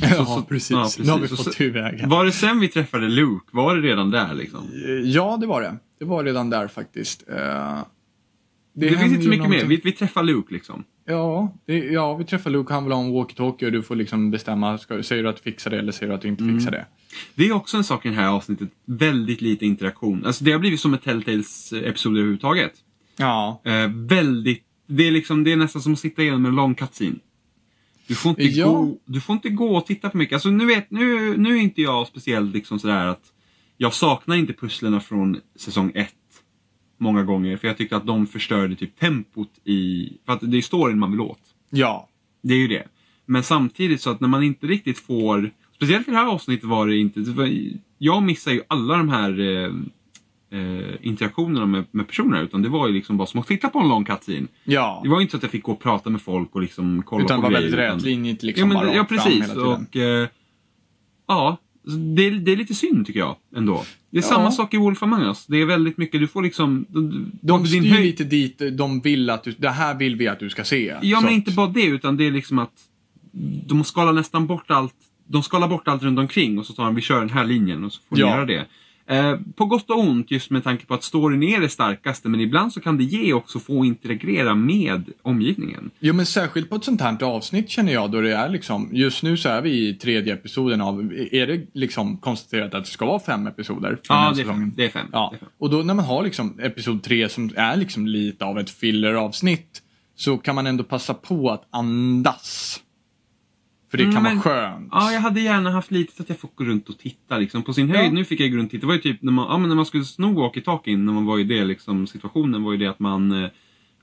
A: Ja,
B: så-
A: precis.
B: ja, precis.
A: Nu har vi
B: Så-
A: fått
B: så-
A: ur vägen.
B: Var det sen vi träffade Luke? Var det redan där liksom?
A: Ja, det var det. Det var redan där faktiskt. Eh,
B: Det, finns
A: händer
B: inte så
A: ju
B: mycket mer.
A: någonting.
B: Vi, vi träffar Luke liksom.
A: Ja, det, ja, vi träffar Luke, han vill ha en walkie-talkie och du får liksom bestämma, ska, säger du att du fixar det eller säger du att du inte
B: Mm.
A: fixar det?
B: Det är också en sak i det här avsnittet. Väldigt lite interaktion. Alltså det har blivit som ett Telltales-episod överhuvudtaget.
A: Ja.
B: Eh, väldigt, det är, liksom, det är nästan som att sitta igenom en lång cutscene. Du får, inte
A: Ja.
B: gå, du får inte gå och titta för mycket. Alltså nu, vet, nu, nu är inte jag speciellt liksom sådär att jag saknar inte pusslerna från säsong 1 många gånger. För jag tyckte att de förstörde typ tempot i... För att det är storyn man vill åt.
A: Ja.
B: Det är ju det. Men samtidigt så att när man inte riktigt får... Speciellt i det här avsnittet var det inte... det var- Jag missar ju alla de här eh, eh, interaktionerna med, med personerna. Utan det var ju liksom bara som att titta på en lång cutscene.
A: Ja.
B: Det var ju inte så att jag fick gå och prata med folk och liksom kolla
A: Utan det
B: på
A: var
B: grejer.
A: väldigt
B: utan-
A: rätlinjigt
B: Ja,
A: liksom. bara
B: men, ja
A: rakt fram
B: precis.
A: hela tiden.
B: Och, eh, ja, så det, är- det är lite synd tycker jag ändå. Det är
A: Ja.
B: samma sak i Wolf Among Us. Det är väldigt mycket, du får liksom... De,
A: De styr lite dit de vill att du, det här vill vi att du ska se.
B: Ja,
A: Så
B: men
A: att-
B: inte bara det, utan det är liksom att de skalar nästan bort allt. De skalar bort allt runt omkring och så tar de, vi kör den här linjen och så får ni
A: Ja.
B: göra det. Eh, på gott och ont, just med tanke på att storyn är det starkaste, men ibland så kan det ge också få integrera med omgivningen.
A: Jo men särskilt på ett sånt här avsnitt känner jag då det är liksom, just nu så är vi i tredje episoden av, är det liksom konstaterat att det ska vara fem episoder? för den här
B: Ja, det är
A: säsongen?
B: fem. Det är fem.
A: Ja,
B: Det är fem.
A: och då när man har liksom episod 3 som är liksom lite av ett filleravsnitt så kan man ändå passa på att andas. För det kan
B: Mm,
A: vara
B: men-
A: skönt.
B: Ja, jag hade gärna haft lite så att jag får gå runt och titta liksom. På sin höjd,
A: Ja.
B: nu fick jag gå runt och titta. Det var ju typ när man, ja, men när man skulle sno walkie-talkien, när man var i det liksom, situationen var ju det att man eh,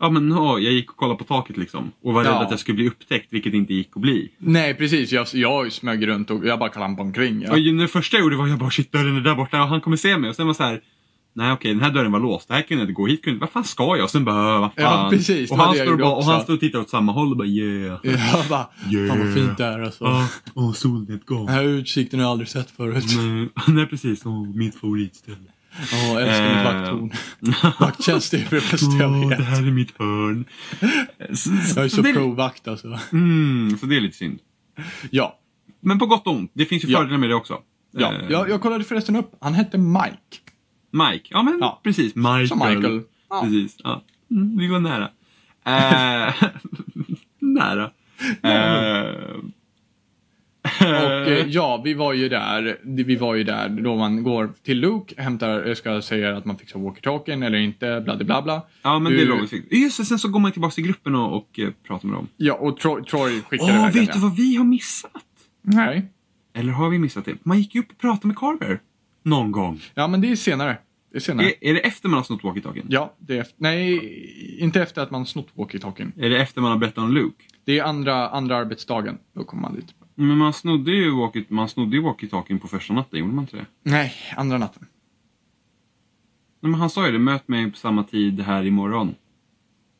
B: Ja men ja, jag gick och kollade på taket liksom och var
A: Ja.
B: rädd att jag skulle bli upptäckt, vilket inte gick att bli.
A: Nej precis, jag, jag smög runt och jag bara klampade omkring.
B: Och
A: Ja.
B: ju- det första jag gjorde var jag bara shit dörren är där borta och han kommer se mig. Och sen var så här. Nej okej den här dörren var låst, det här kunde jag inte gå, hit kunde jag inte, vad fan ska jag? Och sen bara, "Äh, vad fan.
A: Ja, precis, det
B: och,
A: var
B: han
A: det jag
B: står och,
A: gjorde
B: bara, och han
A: också.
B: står och tittar åt samma håll och bara yeah.
A: Jag bara, fan vad fint det är alltså.
B: Åh, åh, solnedgång.
A: Den här utsikten har jag aldrig sett förut.
B: Nej, nej precis, åh, mitt favoritställe.
A: Åh, jag älskar mitt
B: Eh. Mm.
A: vakttorn. Vakttjänst är ju det bästa
B: Åh,
A: jag
B: det
A: vet.
B: här är mitt hörn. Så,
A: Jag är så
B: det,
A: provvakt alltså.
B: mm, så det är lite synd.
A: Ja,
B: Men på gott och ont, det finns ju
A: Ja.
B: fördelar med det också.
A: ja.
B: Eh,
A: Jag, jag kollade förresten upp, han hette Mike.
B: Mike, ja men
A: Ja.
B: precis. Michael.
A: Som Michael. Ja.
B: Precis. Ja. Mm, vi var nära. Eh, nära. Eh,
A: Och eh, ja, vi var ju där, vi var ju där då man går till Luke, hämtar, eh, ska säga att man fixar walkie-talkien eller inte, bla bla, bla bla.
B: ja men det är
A: du-
B: logiskt. Just det, sen så går man tillbaka till gruppen och, och eh, pratar med dem.
A: Ja, och Troy, Troy skickade
B: Åh,
A: iväg den,
B: vet du vad vi har missat?
A: ja. Nej.
B: Eller har vi missat det? Man gick ju upp och pratade med Carver. Någon gång.
A: Ja, men det är senare. Det är senare.
B: Är, är det efter man har snott walkie-talkien?
A: Ja, det är efter, nej, inte efter att man snott walkie-talkien.
B: Är det efter man har berättat om Luke?
A: Det är andra, andra arbetsdagen, då kommer man dit.
B: Men man snodde ju walkie- man snodde ju walkie-talkien på första natten, gjorde man inte det?
A: Nej, andra natten.
B: Nej, men han sa ju det, möt mig på samma tid här imorgon.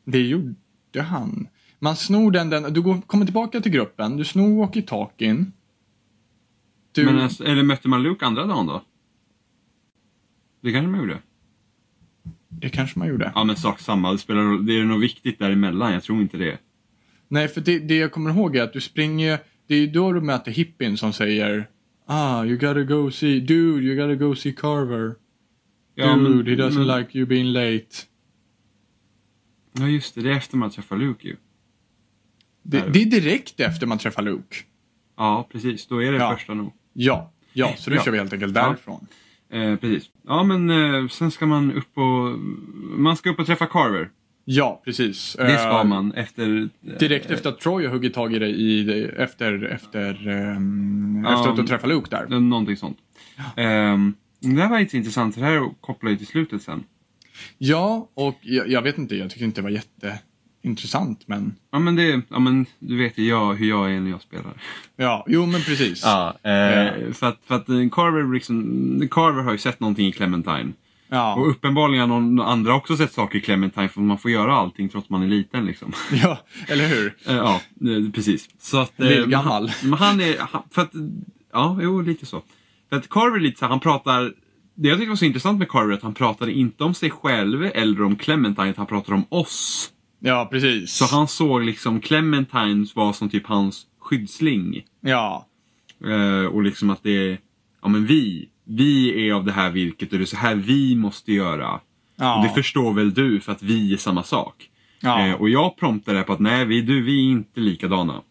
A: Det gjorde han. Man snor den, den du går, kommer tillbaka till gruppen, du snor walkie-talkien. Du,
B: Men alltså, eller mötte man Luke andra dagen då? Det kanske man gjorde?
A: det kanske man gjorde.
B: Ja men sak samma, det, spelar, roll. det är nog viktigt däremellan, jag tror inte det.
A: Nej, för det, det jag kommer ihåg är att du springer, det är ju då du möter hippien som säger Ah, you gotta go see, dude, you gotta go see Carver. Dude,
B: Ja, men-
A: he doesn't
B: men-
A: like you being late.
B: Ja just det, det är efter man träffar Luke ju.
A: Det, det är direkt efter man träffar Luke.
B: Ja precis, då är det
A: Ja.
B: första nog.
A: Ja, ja, så då
B: Ja.
A: kör vi helt enkelt
B: Ja.
A: därifrån.
B: Eh, precis. Ja men eh, sen ska man upp och... Man ska upp och träffa Carver.
A: Ja, precis.
B: Det ska
A: Eh,
B: man efter...
A: Direkt efter att Troy har huggit tag i dig i, efter, efter, ehm,
B: Ja.
A: efter att du träffar Luke där.
B: Eh, Någonting sånt. Ehm, det här var lite intressant, för det här kopplar ju till slutet sen.
A: Ja, och jag, jag vet inte, jag tyckte inte det var jätteintressant men
B: Ja men det, ja men du vet ju jag, hur jag är när jag spelar.
A: ja, jo men precis.
B: Ja, eh,
A: Ja.
B: För, att, för att eh, Carver, liksom, Carver har ju sett någonting i Clementine. Och
A: Ja,
B: uppenbarligen har någon andra också sett saker i Clementine för man får göra allting trots man är liten liksom.
A: ja eller hur?
B: Eh, ja, eh, precis. Så att... eh,
A: Lillgammal.
B: Men han är... Han, för att, ja, jo lite så. För att Carver är lite så här, han pratar... Det jag tyckte var så intressant med Carver är att han pratade inte om sig själv eller om Clementine, utan han pratade om oss.
A: Ja, precis.
B: Så han såg liksom Clementine var som typ hans skyddsling.
A: Ja,
B: Eh, och liksom att det är, ja men vi, vi är av det här virket och det är så här vi måste göra.
A: Ja.
B: Och det förstår väl du för att vi är samma sak.
A: Ja.
B: Eh, och jag promptade på att nej, vi, du, vi är inte likadana.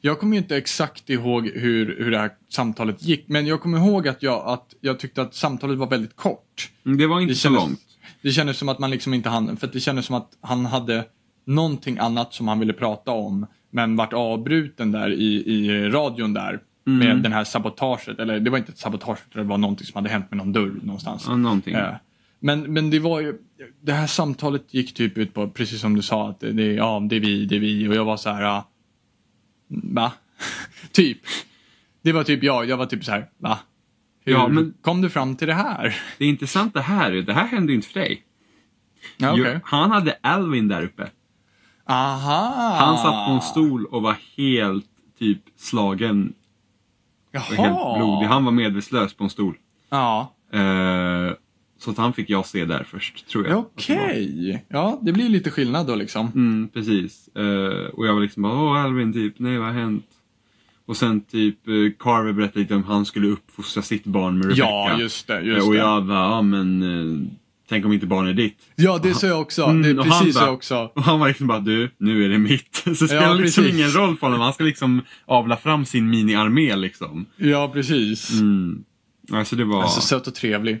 A: Jag kommer ju inte exakt ihåg hur, hur det här samtalet gick, men jag kommer ihåg att jag, att jag tyckte att samtalet var väldigt kort.
B: Mm, Det var inte
A: Det
B: så långt.
A: det kändes som att man liksom inte hann, för att det kändes som att han hade någonting annat som han ville prata om, men vart avbruten där i, i radion där.
B: Mm.
A: Med den här sabotaget, eller det var inte ett sabotage, utan det var någonting som hade hänt med någon dörr någonstans.
B: Ja, någonting.
A: Eh, Men, men det var ju, det här samtalet gick typ ut på, precis som du sa, att det, det, är- ja, det är vi, det är vi. Och jag var så här, ah, va? typ. Det var typ jag, jag var typ så här, va? Hur
B: Ja, men-
A: kom du fram till det här?
B: Det intressanta här är, det här hände ju inte för dig.
A: Ja, okej.
B: Jo, Han hade Alvin där uppe.
A: Aha!
B: Han satt på
A: Ah.
B: en stol och var helt typ slagen. och Helt blodig.
A: Jaha!
B: Han var medvetslös på en stol.
A: Ja,
B: Eh, så att han fick jag se där först, tror jag. att det
A: okej.
B: var.
A: Ja, det blir lite skillnad då liksom.
B: Mm, precis. Eh, och jag var liksom bara, åh Alvin, typ, nej vad har hänt? Och sen typ eh, Carver berättade lite om hur han skulle uppfostra sitt barn med Rebecca.
A: Ja, just det.
B: Eh,
A: Just
B: och
A: det.
B: jag bara, ja men eh, tänk om inte barnet är ditt.
A: ja, det sa jag också.
B: Mm,
A: det är
B: och han
A: precis så
B: bara-
A: jag också.
B: Och han var liksom bara, du, nu är det mitt. Så det spelar
A: Ja,
B: liksom
A: precis.
B: ingen roll för honom. Han ska liksom avla fram sin mini-armé liksom.
A: Ja, precis.
B: Mm. Alltså det var,
A: Alltså söt och trevlig.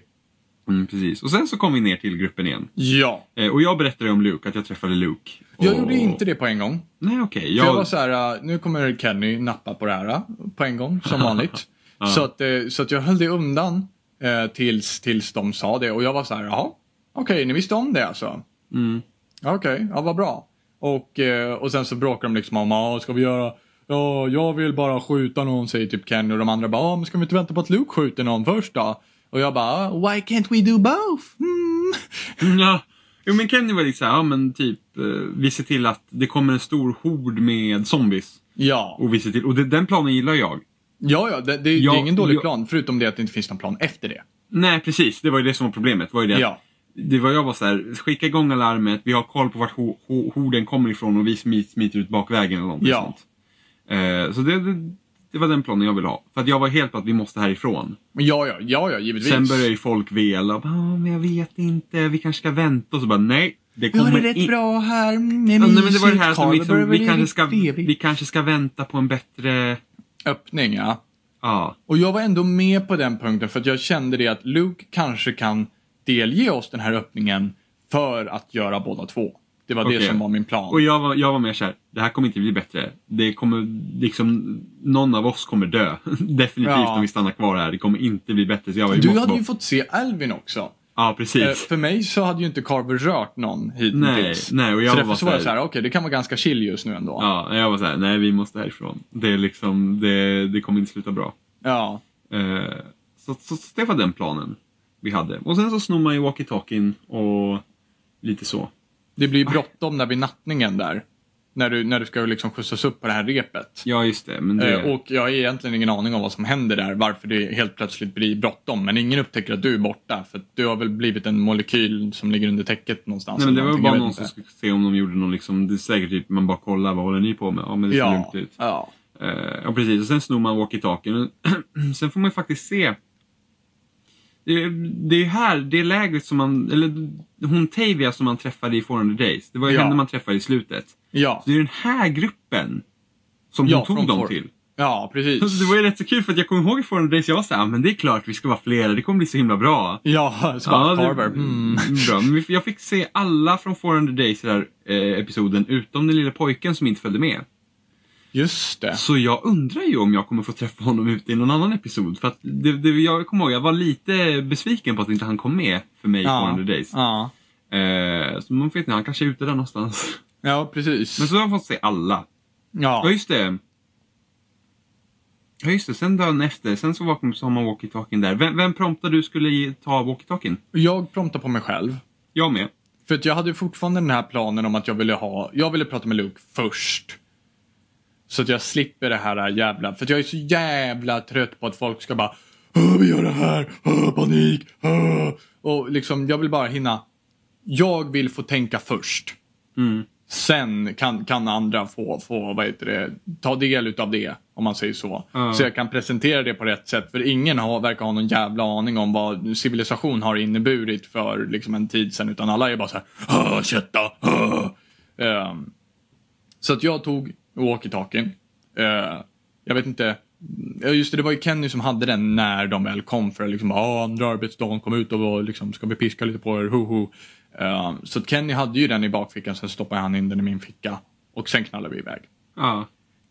B: mm, precis. Och sen så kom vi ner till gruppen igen.
A: Ja.
B: Eh, och jag berättade om Luke, att jag träffade Luke.
A: Jag
B: och...
A: gjorde inte det på en gång.
B: Nej okej.
A: För jag
B: Jag...
A: var så här, äh, nu kommer Kenny nappa på det här äh, på en gång, som vanligt. så, att, eh, så att jag höll det undan eh, tills, tills de sa det och jag var så här, jaha, okej, ni visste om det alltså?
B: Mm.
A: Ja, Okej, ja vad bra. Och, eh, och sen så bråkar de liksom om, ja ska vi göra, ja jag vill bara skjuta någon säger typ Kenny och de andra bara, ja men ska vi inte vänta på att Luke skjuter någon först då? Och jag bara, why can't we do both? Mm.
B: Ja. Jo men Kenny var liksom såhär, ja men typ, eh, vi ser till att det kommer en stor hord med zombies.
A: Ja,
B: Och vi ser till, och det, den planen gillar jag.
A: ja, ja, det, det, det
B: Ja,
A: är ingen dålig
B: ja.
A: plan, förutom det att det inte finns någon plan efter det.
B: Nej precis, det var ju det som var problemet. Var ju det. att-
A: Ja.
B: det var jag var så här, skicka igång alarmet, vi har koll på vart ho- ho- horden kommer ifrån och vi smiter, smiter ut bakvägen eller någonting
A: Ja.
B: sånt. Eh, så det, det, det var den planen jag ville ha. För att jag var helt på att vi måste härifrån.
A: Ja, ja, ja, ja givetvis.
B: Sen började ju folk vela, ah, men jag vet inte, vi kanske ska vänta och så bara nej. Det
A: Vi har
B: kommer
A: det rätt
B: in-
A: bra här. Mm, Nej,
B: Ja, nej, men det var det här
A: mysigt. Carl,
B: att de liksom,
A: börjar bli
B: vi, kanske
A: riktigt
B: ska,
A: trevlig.
B: vi kanske ska vänta på en bättre...
A: Öppning, ja.
B: Ja,
A: Och jag var ändå med på den punkten för att jag kände det att Luke kanske kan delge oss den här öppningen för att göra båda två. Det var det
B: Okej.
A: som var min plan.
B: Och jag var, jag var mer såhär, det här kommer inte bli bättre. Det kommer liksom, någon av oss kommer dö. Definitivt
A: Ja.
B: om vi stannar kvar här. Det kommer inte bli bättre. Så jag var, vi
A: du
B: måste
A: hade
B: bara-
A: ju fått se Alvin också.
B: Ja,
A: Eh,
B: precis.
A: för mig så hade ju inte Carver rört någon
B: nej,
A: hittills.
B: nej. Och jag
A: så
B: var
A: därför så var jag
B: så
A: såhär, okej det kan vara ganska chill just nu ändå.
B: Ja, jag var såhär, nej vi måste härifrån. Det är liksom, det, det kommer inte sluta bra.
A: Ja.
B: Eh, så, så, så det var den planen vi hade. Och sen så snor man ju walkie-talkien och lite så.
A: Det blir bråttom där vid nattningen där. När du, när du ska liksom skjutsas upp på det här repet.
B: Ja, just det. Men det...
A: Eh, Och jag har egentligen ingen aning om vad som händer där, varför det helt plötsligt blir bråttom. Men ingen upptäcker att du är borta, för att du har väl blivit en molekyl som ligger under täcket någonstans.
B: Nej men det
A: eller
B: var
A: någonting, jag
B: bara någon
A: vet
B: som
A: inte.
B: skulle se om de gjorde någon liksom, det är säkert typ man bara kollar vad håller ni på med? Ja men det ser
A: Ja,
B: lugnt ut.
A: ja.
B: Eh, ja precis, och sen snor man walkie-talkien. sen får man ju faktiskt se. Det, det är här, det lägret som man, eller hon Tavia som man träffade i 400 Days. Det var ju
A: Ja.
B: henne man träffade i slutet.
A: Ja,
B: Så det är den här gruppen som
A: Ja,
B: hon tog
A: från
B: dem
A: For-
B: till.
A: ja, precis.
B: Så Alltså, det var ju rätt så kul för att jag kommer ihåg i 400 Days, jag var såhär, men det är klart vi ska vara flera, det kommer bli så himla bra.
A: Ja, Scott
B: det-
A: Carver. Mm.
B: Bra. Men vi- jag fick se alla från 400 Days i den här eh, episoden, utom den lilla pojken som inte följde med.
A: Just det.
B: Så jag undrar ju om jag kommer få träffa honom ute i någon annan episod. För att det, det, jag kommer ihåg, jag var lite besviken på att inte han kom med för mig i
A: Ja.
B: 400 Days.
A: Ja,
B: Eh, så man vet inte, han kanske är ute där någonstans.
A: ja precis.
B: Men så har jag fått se alla. Ja,
A: Ja,
B: just det. Ja, just det. Sen dagen efter, sen så vaknade så har man walkie-talkien där. Vem, vem promptade du skulle ge- ta walkie-talkien?
A: jag promptar på mig själv.
B: Jag med.
A: För att jag hade ju fortfarande den här planen om att jag ville ha, jag ville prata med Luke först. Så att jag slipper det här jävla, för att jag är så jävla trött på att folk ska bara "Åh, vi gör det här, Åh, panik, Åh." Och liksom, jag vill bara hinna, jag vill få tänka först.
B: Mm.
A: Sen kan, kan andra få, få vad heter det, ta del utav det, om man säger så.
B: Ja.
A: Så jag kan presentera det på rätt sätt. För ingen har, verkar ha någon jävla aning om vad civilisation har inneburit för liksom, en tid sedan. Utan alla är bara så här, "Åh, kött då, åh." Ehm, så att jag tog walkie-talkien. Eh, jag vet inte. ja, Just det, det var ju Kenny som hade den när de väl kom för att liksom, ah, andra arbetsdagen, kom ut och var, liksom, ska vi piska lite på er, ho ho. Eh, så att Kenny hade ju den i bakfickan, sen stoppade han in den i min ficka och sen knallade vi iväg.
B: Ja.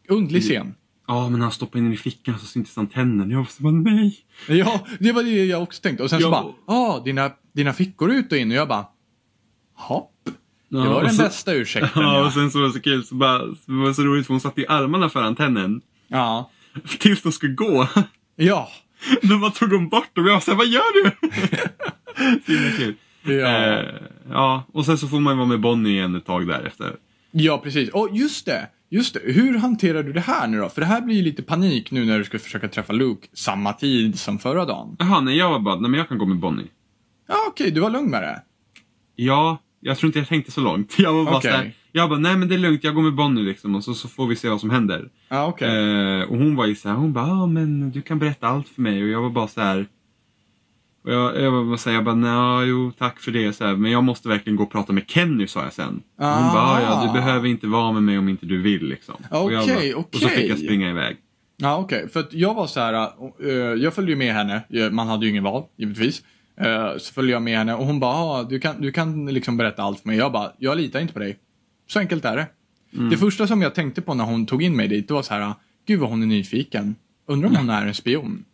A: Underlig
B: Mm.
A: scen.
B: Ja, men han stoppar in den i fickan så syns inte ens tänderna. Jag bara, nej.
A: Ja, det var det jag också tänkte. Och sen så
B: Ja.
A: bara, ah, dina, dina fickor är ut och in och jag bara, hopp. Det
B: Ja,
A: var
B: och
A: den
B: så-
A: bästa ursäkten.
B: Ja,
A: Ja,
B: och sen så var det så kul, så bara, det var så roligt för hon satt i armarna för antennen.
A: ja.
B: Tills de skulle gå.
A: ja.
B: Då bara tog hon bort dem och jag sa vad gör du? Så himla kul.
A: ja.
B: Eh, ja, och sen så får man ju vara med Bonnie igen ett tag därefter.
A: Ja, precis. Och just det! Just det. Hur hanterar du det här nu då? För det här blir ju lite panik nu när du ska försöka träffa Luke samma tid som förra dagen.
B: Jaha, nej jag var bara, nej men jag kan gå med Bonnie.
A: Ja, okej, du var lugn med det.
B: Ja, jag tror inte jag tänkte så långt. Jag var bara
A: Okej.
B: såhär, jag bara, nej men det är lugnt, jag går med Bonnie liksom och så, så får vi se vad som händer.
A: Ja, okej.
B: Eh, och hon var ju såhär, hon bara, ah, men du kan berätta allt för mig. Och jag var bara såhär, och jag, jag var bara såhär, jag bara, nej, jo tack för det. Så här, men jag måste verkligen gå och prata med Kenny sa jag sen. Och Hon bara, ah, ja du
A: Ah.
B: behöver inte vara med mig om inte du vill liksom. och, jag bara,
A: Okej,
B: och så
A: okej.
B: fick jag springa iväg.
A: Ja, okej. För att jag var så här, eh, jag följde ju med henne, Eh, man hade ju ingen val, givetvis. Eh, Så följde jag med henne och hon bara, "Ah, du kan, du kan liksom berätta allt för mig. Jag bara, jag litar inte på dig. Så enkelt är det. Det första som jag tänkte på när hon tog in mig dit, det var så här, "Ah, gud vad hon är nyfiken. Undrar om hon är en spion?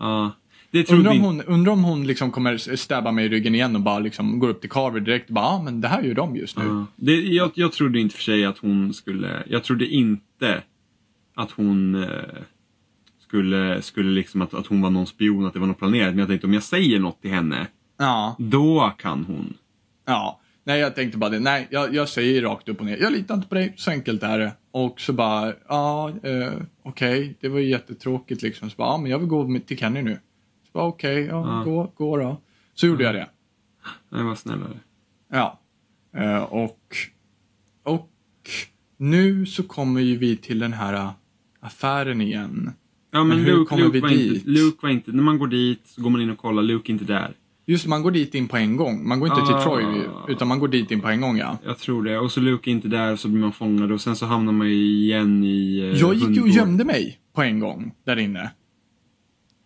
B: Ja. det trodde
A: Undrar om
B: inte...
A: hon, undrar om hon liksom kommer stabba mig i ryggen igen och bara liksom går upp till Carver direkt och bara ah, men det här gör de just nu.
B: Ja. Det, jag, jag trodde inte för sig att hon skulle... Jag trodde inte att hon eh, skulle, skulle liksom att, att hon var någon spion, att det var något planerat. Men jag tänkte om jag säger något till henne,
A: Ja.
B: då kan hon.
A: ja. Nej jag tänkte bara det, nej jag, jag säger rakt upp och ner, jag litar inte på dig, så enkelt är det. Och så bara, ja eh, okej, det var ju jättetråkigt liksom. Så bara, ja men jag vill gå med- till Kenny nu. Så bara okej, ja,
B: Ja.
A: gå, gå då. Så gjorde jag det.
B: Nej, var snällare.
A: Ja. Eh, och, och nu så kommer ju vi till den här eh, affären igen.
B: Ja, men,
A: Men hur
B: Luke,
A: kommer
B: Luke
A: vi
B: var
A: dit?
B: Inte, Luke var inte... När man går dit så går man in och kollar, Luke är inte där.
A: Just man går dit in på en gång. Man går inte
B: Ah.
A: till Troy, utan man går dit in på en gång ja.
B: Jag tror det. Och så Luke är inte där så blir man fångad och sen så hamnar man ju igen i... eh,
A: Jag gick ju och
B: hundgård.
A: gömde mig på en gång där inne.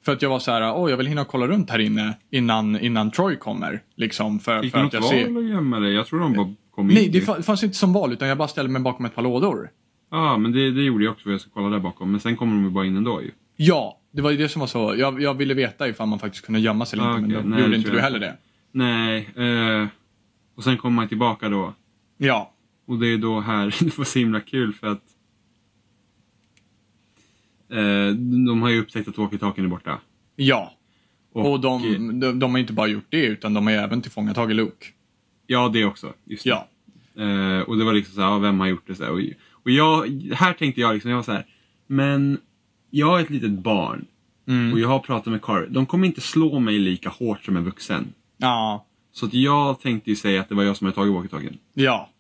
A: För att jag var så här, åh jag vill hinna kolla runt här inne innan, innan Troy kommer. Liksom för,
B: Fick
A: för
B: man
A: att
B: något
A: jag
B: val
A: ser...
B: att gömma dig? Jag tror de bara kom in.
A: Nej, det
B: i-
A: fa- fanns inte som val utan jag bara ställde mig bakom ett par lådor.
B: Ja, men det, det gjorde jag också för jag skulle kolla där bakom. Men sen kommer de ju bara in ändå ju.
A: Ja, det var ju det som var så. Jag, jag ville veta ifall man faktiskt kunde gömma sig eller
B: Ah,
A: inte,
B: okej.
A: men då
B: Nej,
A: gjorde
B: det
A: inte
B: tror
A: du
B: jag
A: heller det.
B: Nej, eh, och sen kommer man tillbaka då.
A: Ja.
B: Och det är då här, det var så himla kul för att eh, de har ju upptäckt att walkie-talkien är borta.
A: Ja. Och,
B: eh,
A: de, de, de har inte bara gjort det utan de har ju även tillfångatagit Luke.
B: Ja, det också. Just det.
A: Ja.
B: Eh, och det var liksom så här, ja, vem har gjort det? Så här, och, och jag, här tänkte jag liksom, jag var så här, men jag är ett litet barn och
A: Mm.
B: jag har pratat med Carver. De kommer inte slå mig lika hårt som en vuxen.
A: Ja.
B: Så att jag tänkte ju säga att det var jag som hade tagit walkie-talkien.
A: Ja.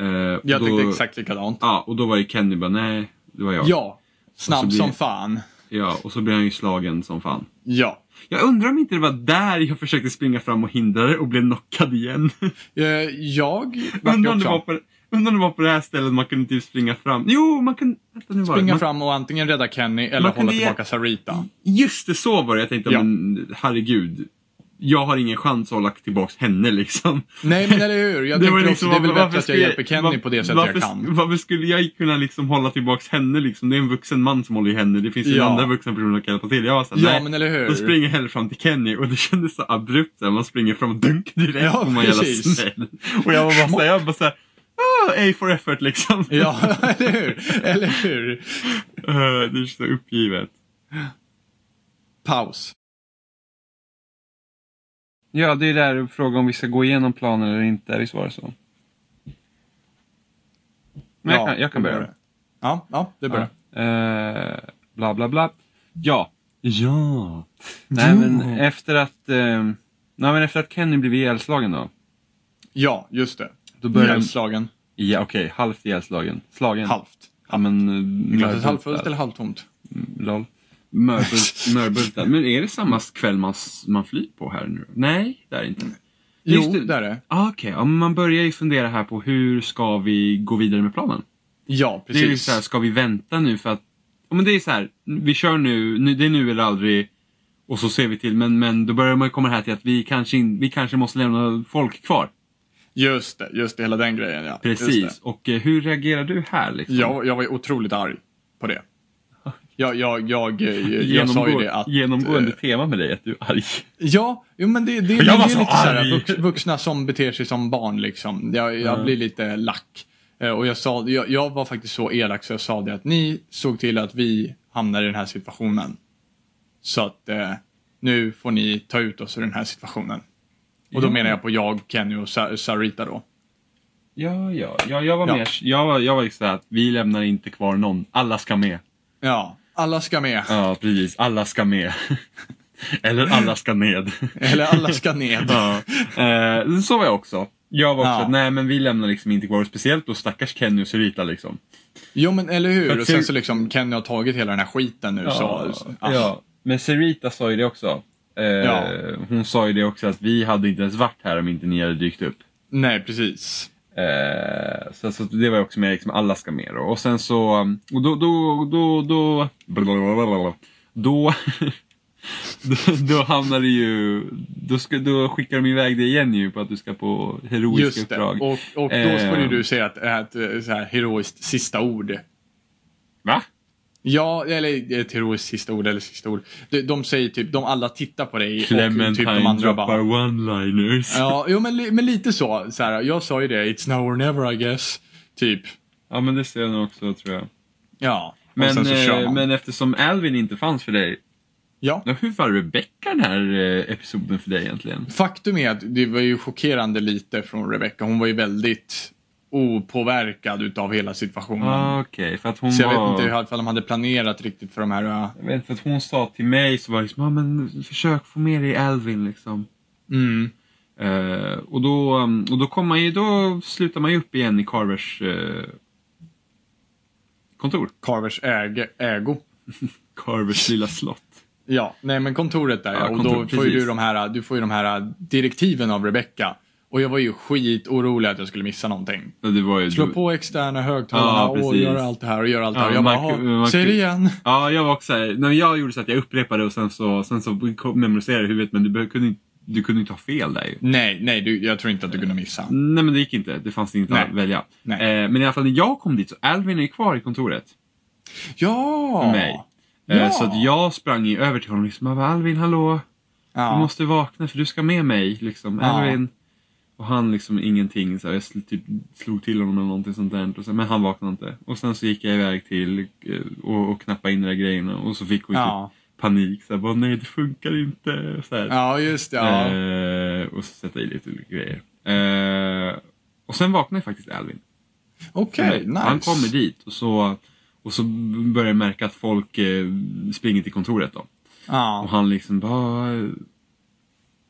B: Eh,
A: Jag
B: och
A: tänkte
B: då-
A: exakt likadant.
B: Ja, och då var det Kenny bara, nej, det var jag.
A: Ja,
B: Och så
A: snabb
B: blir-
A: som fan.
B: Ja, och så blev han ju slagen som fan.
A: Ja.
B: Jag undrar om inte det var där jag försökte springa fram och hindra det och blev knockad igen.
A: Eh, Jag vart ju
B: undrar, om det var
A: också.
B: på, undrar om det var på det här stället man kunde typ springa fram. Jo, man kunde... Vänta, nu var det.
A: Springa
B: man,
A: fram och antingen rädda Kenny eller
B: Man kunde
A: hålla
B: ge-
A: tillbaka Sarita.
B: Just det, så var det. Jag tänkte,
A: Ja.
B: men herregud. Jag har ingen chans att hålla tillbaks henne liksom.
A: Nej men eller hur, jag tänker också det är väl
B: varför
A: bättre att jag
B: skulle
A: hjälper Kenny
B: var-
A: på det sättet
B: varför,
A: jag kan.
B: Varför skulle jag kunna liksom hålla tillbaks henne liksom? Det är en vuxen man som håller i henne. Det finns ju
A: Ja.
B: andra vuxna personer som kan hjälpa till. Jag var såhär,
A: Ja
B: nej.
A: men eller
B: Då
A: hur.
B: springer jag hellre fram till Kenny och det kändes så abrupt såhär, man springer fram och dunk direkt
A: Ja,
B: på någon jävla
A: precis.
B: smäll. Och jag var bara såhär, jag var bara såhär, ah, A for effort liksom.
A: Ja, eller hur. Eller hur.
B: Eh, det är så uppgivet.
A: Paus.
B: Ja, det är där frågan om vi ska gå igenom planen eller inte, visst var det så? Men jag,
A: Ja,
B: kan, jag kan
A: det
B: börja.
A: börjar. Ja, ja, det börjar.
B: Eh, bla bla bla. Ja. Ja. Nej men efter att, eh, nej, men efter att Kenny blev ihjälslagen då.
A: Ja, just det.
B: Då började,
A: Ihjälslagen.
B: Ja, okej. Halvt ihjälslagen. Slagen.
A: Halvt.
B: Ja, men... eh,
A: Glaset halvfullt
B: mörbultad.
A: eller halvtomt?
B: Lol. Mörbult, mörbultad. Men är det samma kväll man, s- man flyr på här nu? Nej, det är det inte.
A: Jo, det är det.
B: Ah, Okej, ja, men man börjar ju fundera här på hur ska vi gå vidare med planen?
A: Ja,
B: Det är ju
A: precis.
B: så här, ska vi vänta nu för att... Ja, men det är så här, vi kör nu, nu, det är nu eller aldrig. Och så ser vi till, men, men då börjar man komma här till att vi kanske, in, vi kanske måste lämna folk kvar.
A: Just det, just det, hela den grejen ja. Just det.
B: Precis, och eh, hur reagerar du här liksom?
A: Jag, jag var ju otroligt arg på det. Jag, jag, jag, jag, jag sa ju
B: Genomgå-
A: det att...
B: genomgående
A: eh,
B: tema med dig, att du är arg.
A: Ja, jo, men det, det, det,
B: Jag var
A: är
B: så
A: lite såhär
B: arg.
A: vux, vuxna som beter sig som barn liksom. Jag, jag
B: Ja.
A: blir lite lack. Eh, Och jag, sa, jag, jag var faktiskt så elak så jag sa det att ni såg till att vi hamnar i den här situationen. Så att eh, nu får ni ta ut oss ur den här situationen. Och då
B: Ja.
A: menar jag på jag, Kenny och Sa- Sarita då.
B: Ja, ja, ja, jag var
A: Ja.
B: mer, jag var, jag var liksom såhär att vi lämnar inte kvar någon. Alla ska med.
A: Ja, alla ska med.
B: Ja, precis. Alla ska med. Eller alla ska ned.
A: Eller alla ska ned.
B: ja. eh, så var jag också. Jag var också
A: Ja.
B: att, nej men vi lämnar liksom inte kvar, speciellt då stackars Kenny och Sarita liksom.
A: Jo men eller hur?
B: För
A: Och sen
B: till-
A: så liksom Kenny har tagit hela den här skiten nu så... Ah,
B: ja. Men Sarita sa ju det också. Eh,
A: Ja.
B: Hon sa ju det också att vi hade inte ens varit här om inte ni hade dykt upp.
A: Nej precis.
B: Eh, så, så det var ju också med, liksom, alla ska med då. Och sen så, um, och då, då, då, då, blablabla. då, då, då hamnar det ju, då, ska, då skickar de iväg dig igen ju på att du ska på heroiska
A: Just det.
B: uppdrag.
A: Och, och då
B: Eh.
A: skulle du säga att det är ett eh, så här, heroiskt sista ord.
B: Va?
A: Ja, eller eh, ett heroiskt sista ord eller sista ord. De, de säger typ, de alla tittar på dig och typ
B: Clementine
A: de andra
B: droppar
A: bara...
B: one-liners. Ja.
A: Ja, jo, men, li- men lite så. så här, jag sa ju det, it's now or never I guess. Typ.
B: men det ser jag nog också tror jag.
A: Ja. och
B: Men,
A: sen så kör
B: eh,
A: man.
B: men eftersom Alvin inte fanns för dig,
A: Ja.
B: då, hur var Rebecca den här eh, episoden för dig egentligen?
A: Faktum är att det var ju chockerande lite från Rebecca. Hon var ju väldigt opåverkad utav hela situationen.
B: Ah, Okej, för att hon
A: Mm. Så jag
B: var...
A: vet inte hur- ifall de hade planerat riktigt för de här... äh,
B: Jag vet inte, för att hon sa till mig så var det liksom, ah, men försök få med dig Alvin liksom.
A: Mm.
B: Eh, och då, um, och då, kom man ju, då slutar man ju upp igen i Carvers eh, kontor.
A: Carvers äg- ägo.
B: Carvers lilla slott.
A: Ja, nej men kontoret där.
B: Ja,
A: och
B: kontor-
A: då får ju
B: precis.
A: du, de här, du får ju de här äh, direktiven av Rebecca. Och jag var ju skitorolig att jag skulle missa någonting.
B: Ja, Det var ju,
A: Slå på externa högtalarna
B: Ja,
A: och
B: precis.
A: gör allt det här och gör allt det
B: Ja,
A: här. Jag
B: man-
A: bara,
B: man-
A: "Jaha, säg det igen.
B: Ja, jag var också här, när jag gjorde så att jag upprepade och sen så, sen så memoriserade jag i huvudet men du, be- kunde, inte- du kunde inte ha fel där ju.
A: Nej, nej, du, jag tror inte att du kunde missa.
B: Nej men det gick inte, det fanns inget
A: Nej.
B: att välja.
A: Nej.
B: Eh, men i alla fall när jag kom dit så Alvin är ju kvar i kontoret.
A: Ja!
B: mig.
A: Ja.
B: Eh, Så att jag sprang ju över till honom liksom, jag bara, Alvin hallå,
A: Ja.
B: du måste vakna för du ska med mig. Liksom,
A: Ja.
B: Alvin. Och han liksom ingenting, så här, jag sl- typ slog till honom eller någonting sånt där. Och så, men han vaknade inte. Och sen så gick jag iväg till eh, och, och knappade in de där grejerna och så fick hon
A: Ja.
B: typ panik. Så här, bara, nej det funkar inte. Och, så här.
A: ja, just det. Ja.
B: Eh, och så sätta i lite grejer. Eh, och sen vaknade faktiskt Alvin.
A: Okej, nice.
B: eh, Han kommer dit och så, och så börjar jag märka att folk eh, springer till kontoret då. Och
A: Ja.
B: han liksom bara... eh,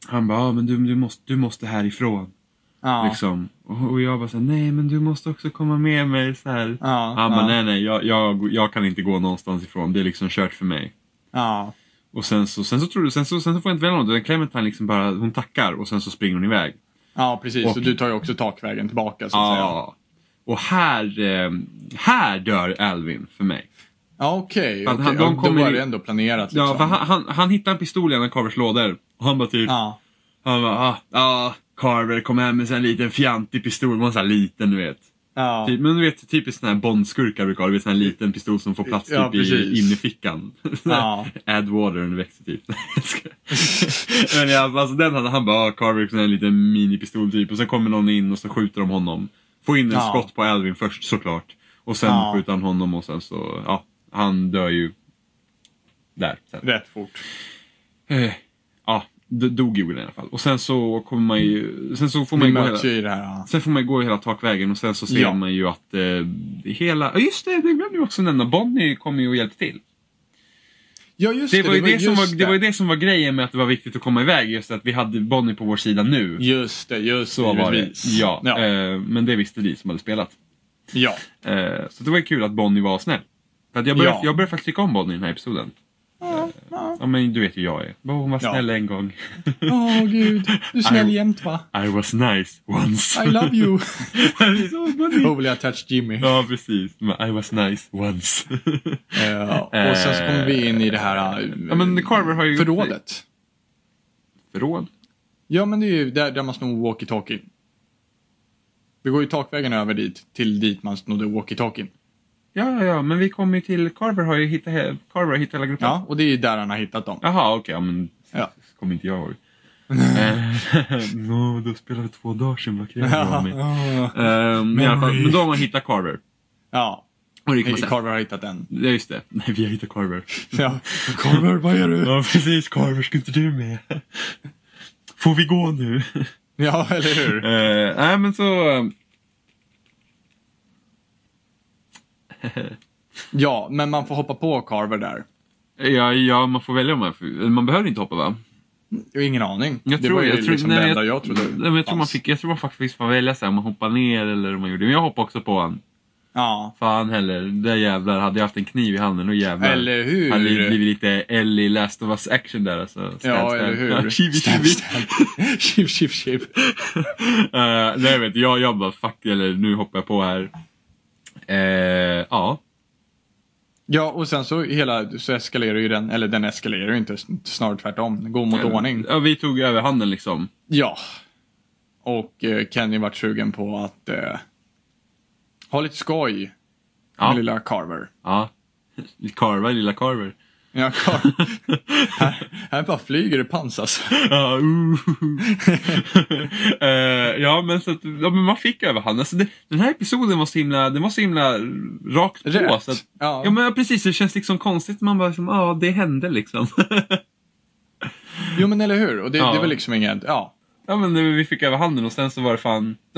B: Han bara, "Ja, men du, du, måste, du måste härifrån.
A: Ja.
B: Liksom. Och, och jag bara såhär, nej men du måste också komma med mig. Så här.
A: Ja,
B: han bara,
A: ja.
B: nej nej jag, jag, jag kan inte gå någonstans ifrån. Det är liksom kört för mig.
A: ja.
B: Och sen så, sen så, tror du, sen så, sen så får jag inte välja något. utan Clementine liksom bara, hon tackar och sen så springer hon iväg.
A: Ja, precis.
B: Och-
A: Och du tar ju också takvägen tillbaka så att säga.
B: Ja. Och här, eh, här dör Alvin för mig.
A: Ja, okej.
B: För att
A: okej.
B: han- de
A: Ja, Då
B: kommer
A: var
B: ju-
A: det ändå planerat liksom.
B: Ja, för han, han, han hittar en pistol i en av Carvers lådor. Och han bara typ,
A: Ja.
B: han bara, ah, ah, Carver kom hem med en liten fjantig pistol. Man så här liten du vet.
A: Ja.
B: Typ, men du vet typiskt sån här Bondskurkar brukar ha. Du vet sån här liten pistol som får plats
A: Ja,
B: typ i
A: precis.
B: innerfickan.
A: Ja.
B: Add water and växer typ. men ja, alltså den hade han bara, ah, Carver kom en liten minipistol typ. Och sen kommer någon in och så skjuter de honom. Får in en
A: Ja.
B: skott på Alvin först såklart. Och sen
A: Ja.
B: skjuter han honom och sen så, ja, han dör ju. Där. Sen.
A: Rätt fort.
B: Eh, Ja, d- dog ju i alla fall. Och sen så kommer man ju, sen så får man
A: Vi
B: ju gå hela...
A: möts ju i det här. ja.
B: Sen får man gå hela takvägen och sen så ser
A: Ja.
B: man ju att eh, hela... Ja, Just det, det glömde jag också nämna. Bonnie kommer ju och hjälper till.
A: Ja, just
B: Det var ju det som
A: just
B: var, det var ju det som var grejen med att det var viktigt att komma iväg. Just att vi hade Bonnie på vår sida nu.
A: Just det, just
B: Så var det.
A: givetvis.
B: Ja,
A: Ja.
B: Eh, men det visste vi som hade spelat.
A: ja.
B: Eh, så det var ju kul att Bonnie var snäll. För att jag, började,
A: Ja.
B: jag började faktiskt tycka om Bonnie i den här episoden. Ja, ja men du vet ju jag är. Bara, Hon var
A: Ja.
B: snäll en gång.
A: Åh gud, du är snäll
B: I-
A: jämt va?
B: I was nice once.
A: I love you.
B: Precis, åh, Bonnie.
A: Totally attached Jimmy.
B: Ja, precis. Men I was nice once.
A: Eh, och sen så kommer vi in i det här eh,
B: ja, men Carver har ju... gjort-
A: förrådet.
B: Förråd?
A: Ja men det är ju där, där man snor walkie-talkie. Vi går ju takvägen över dit, till dit man snodde walkie-talkien.
B: Ja, ja, ja, men vi kommer ju till... Carver har ju hittat, he- Carver har hittat hela gruppen.
A: Ja, och det är ju där han har hittat dem.
B: Jaha, okej. ja, men
A: Ja.
B: det kommer inte jag ihåg. Eh, Nå, då spelade vi två dagar sedan. Vad kräver du av mig?
A: Ja,
B: Ehm, men, i alla fall, men då har man hittat Carver. Och det kan man säga.
A: Carver har hittat den.
B: Ja, just det. Nej, vi har hittat Carver.
A: Ja. Carver, vad gör du?
B: Ja, precis. Carver, ska inte du med? Får vi gå nu?
A: Ja, eller hur?
B: Eh, nej, men så... eh,
A: Ja, men man får hoppa på Carver där.
B: eh, Ja, ja, man får välja om man... Man behöver inte hoppa, va?
A: Jag har ingen aning.
B: Jag
A: det
B: tror,
A: var ju
B: jag tror,
A: liksom
B: nej,
A: det
B: jag-
A: enda jag, trodde
B: nej, men jag, tror man
A: fanns.
B: fick, jag tror man faktiskt får välja så här, om man hoppar ner eller om man gjorde. Men jag hoppade också på han.
A: Ja,
B: Fan heller, där jävlar. Hade jag haft en kniv i handen, då jävlar.
A: eller hur?
B: Hade det blivit lite Ellie Last of Us action där alltså. Stab,
A: Ja,
B: stab.
A: eller hur?
B: Chibi,
A: Stab,
B: chibi.
A: stab. Chip, chip, chip.
B: Eh, nej, jag vet, jag, jag bara fuck eller nu hoppar jag på här. Eh, ja.
A: Ja, och sen så hela, så eskalerar ju den, eller den eskalerar ju inte, sn- snarare tvärtom. Den går mot
B: Mm.
A: ordning.
B: Ja, vi tog över handen liksom.
A: Ja. Och eh, Kenny vart sugen på att eh, ha lite skoj
B: Ja.
A: med lilla Carver.
B: Ja. Carver, lilla Carver.
A: Ja, Carver. här, här bara flyger det pans alltså.
B: Ja, uh, Eh, ja men så att, ja, men man fick över handen. Alltså det, den här episoden var så himla, den var så himla rakt på.
A: Rätt.
B: Så att,
A: ja.
B: ja men ja, precis, det känns liksom konstigt. Man bara, liksom, ja det hände liksom.
A: Jo, men eller hur? Och det,
B: Ja.
A: det var liksom inget, ja.
B: ja men eh, vi fick över handen och sen så var det fan.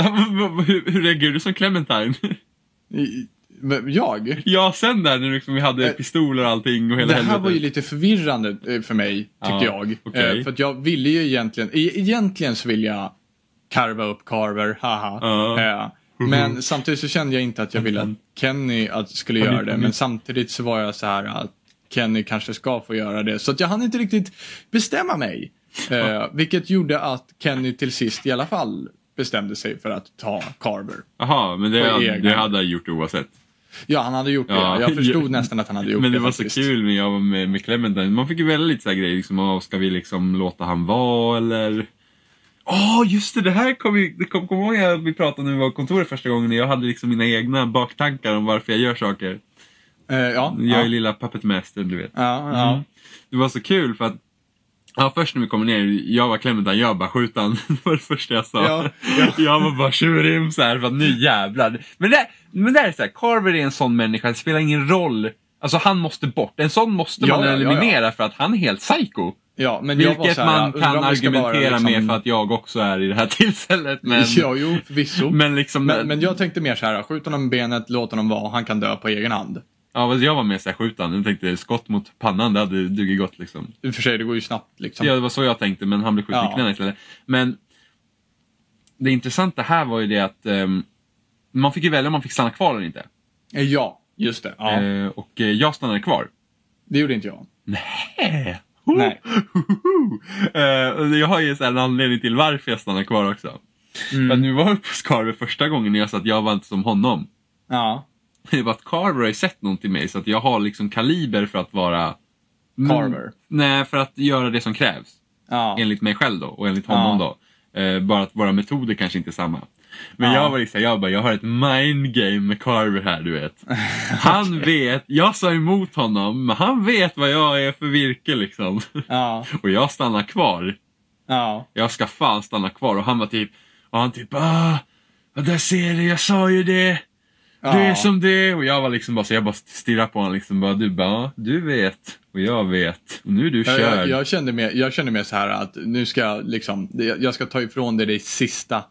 B: hur, hur reagerade du som Clementine?
A: I- i- v- Jag?
B: ja sen där när liksom, vi hade
A: Eh,
B: pistoler och allting och hela
A: Det här
B: helvetet.
A: var ju lite förvirrande eh, för mig, tyckte
B: typ? Ja,
A: jag. Eh,
B: okej.
A: För att jag ville ju egentligen, e- egentligen så vill jag karva upp Carver, haha.
B: Ja. Mhm. Mm.
A: Eh, Men samtidigt så kände jag inte att jag ville att Kenny att skulle
B: Panik,
A: göra det. Men
B: panik.
A: samtidigt så var jag så här att Kenny kanske ska få göra det. Så att jag hann inte riktigt bestämma mig. Eh, vilket gjorde att Kenny till sist i alla fall bestämde sig för att ta Carver.
B: Jaha, men det,
A: på egna.
B: det hade jag gjort oavsett.
A: Ja, han hade gjort det.
B: Ja.
A: Jag förstod nästan att han hade gjort
B: Men det
A: det
B: var så
A: faktiskt.
B: kul när jag var med, med Clementine. Man fick ju välja lite så här grejer. Liksom, ah, ska vi liksom låta han vara eller? Åh just det, det här kom ju... Det kom, kom ihåg att vi pratade när vi var på kontoret första gången. och Jag hade liksom mina egna baktankar om varför jag gör saker.
A: Eh, ja,
B: Jag är
A: ja.
B: lilla puppet master, du vet.
A: Ja, ja.
B: Mm. Det var så kul för att Ja, först när vi kom ner, jag var Clementine, jag bara skjut han. Det var det första jag sa.
A: Ja, ja.
B: Jag var bara tjurim såhär, för att nu jävlar. Men det, men det här är såhär, Carver är en sån människa, det spelar ingen roll. Alltså han måste bort, en sån måste
A: Ja,
B: man
A: ja, ja, ja.
B: eliminera för att han är helt psycho.
A: Ja, men jag var
B: Vilket
A: så här,
B: man
A: undrar
B: kan
A: om vi ska vara
B: argumentera med
A: liksom-
B: för att jag också är i det här tillfället. Men,
A: Ja, jo, förvisso. Men,
B: men liksom,
A: men, jag tänkte mer så här, skjut honom i benet, låt honom vara, han kan dö på egen hand.
B: ja, fast jag var mer såhär skjut han. Jag tänkte skott mot pannan, det hade dugit gott liksom.
A: I och för sig, det går ju snabbt liksom.
B: Ja, det var så jag tänkte, men han blev skjuten
A: Ja.
B: i knäna istället. Men det intressanta här var ju det att ehm, man fick ju välja om man fick stanna kvar eller inte.
A: Eh, Ja, just det. Ja,
B: Eh, och eh, jag stannade kvar.
A: Det gjorde inte jag.
B: Nej.
A: Nej.
B: Eh, och jag har ju så här en anledning till varför jag stannade kvar också.
A: Mm.
B: Men nu var jag uppe hos Carver första gången och jag sa att jag var inte som honom.
A: Ja,
B: Det var att Carver har ju sett någonting i mig så att jag har liksom kaliber för att vara... Mm,
A: Carver.
B: Nej, för att göra det som krävs.
A: Ja.
B: enligt mig själv då och enligt honom
A: Ja.
B: då. Eh, bara att våra metoder kanske inte är samma. Men
A: Ja.
B: jag var liksom, jag bara, jag har ett mind game med Carver här du vet. Han vet, jag sa emot honom, men han vet vad jag är för virke liksom.
A: Ja,
B: Och jag stannar kvar.
A: ja,
B: Jag ska fan stanna kvar. Och han var typ, och han typ, ah, ja, där ser du, jag sa ju det.
A: ja.
B: Det är som det Och jag var liksom bara så, jag bara stirrade på honom liksom, bara, du bara, "Ja, du vet. Och jag vet. Och nu är du
A: jag,
B: körd.
A: jag, jag, kände mer, jag kände mer så här att nu ska jag liksom, jag jag ska ta ifrån dig det sista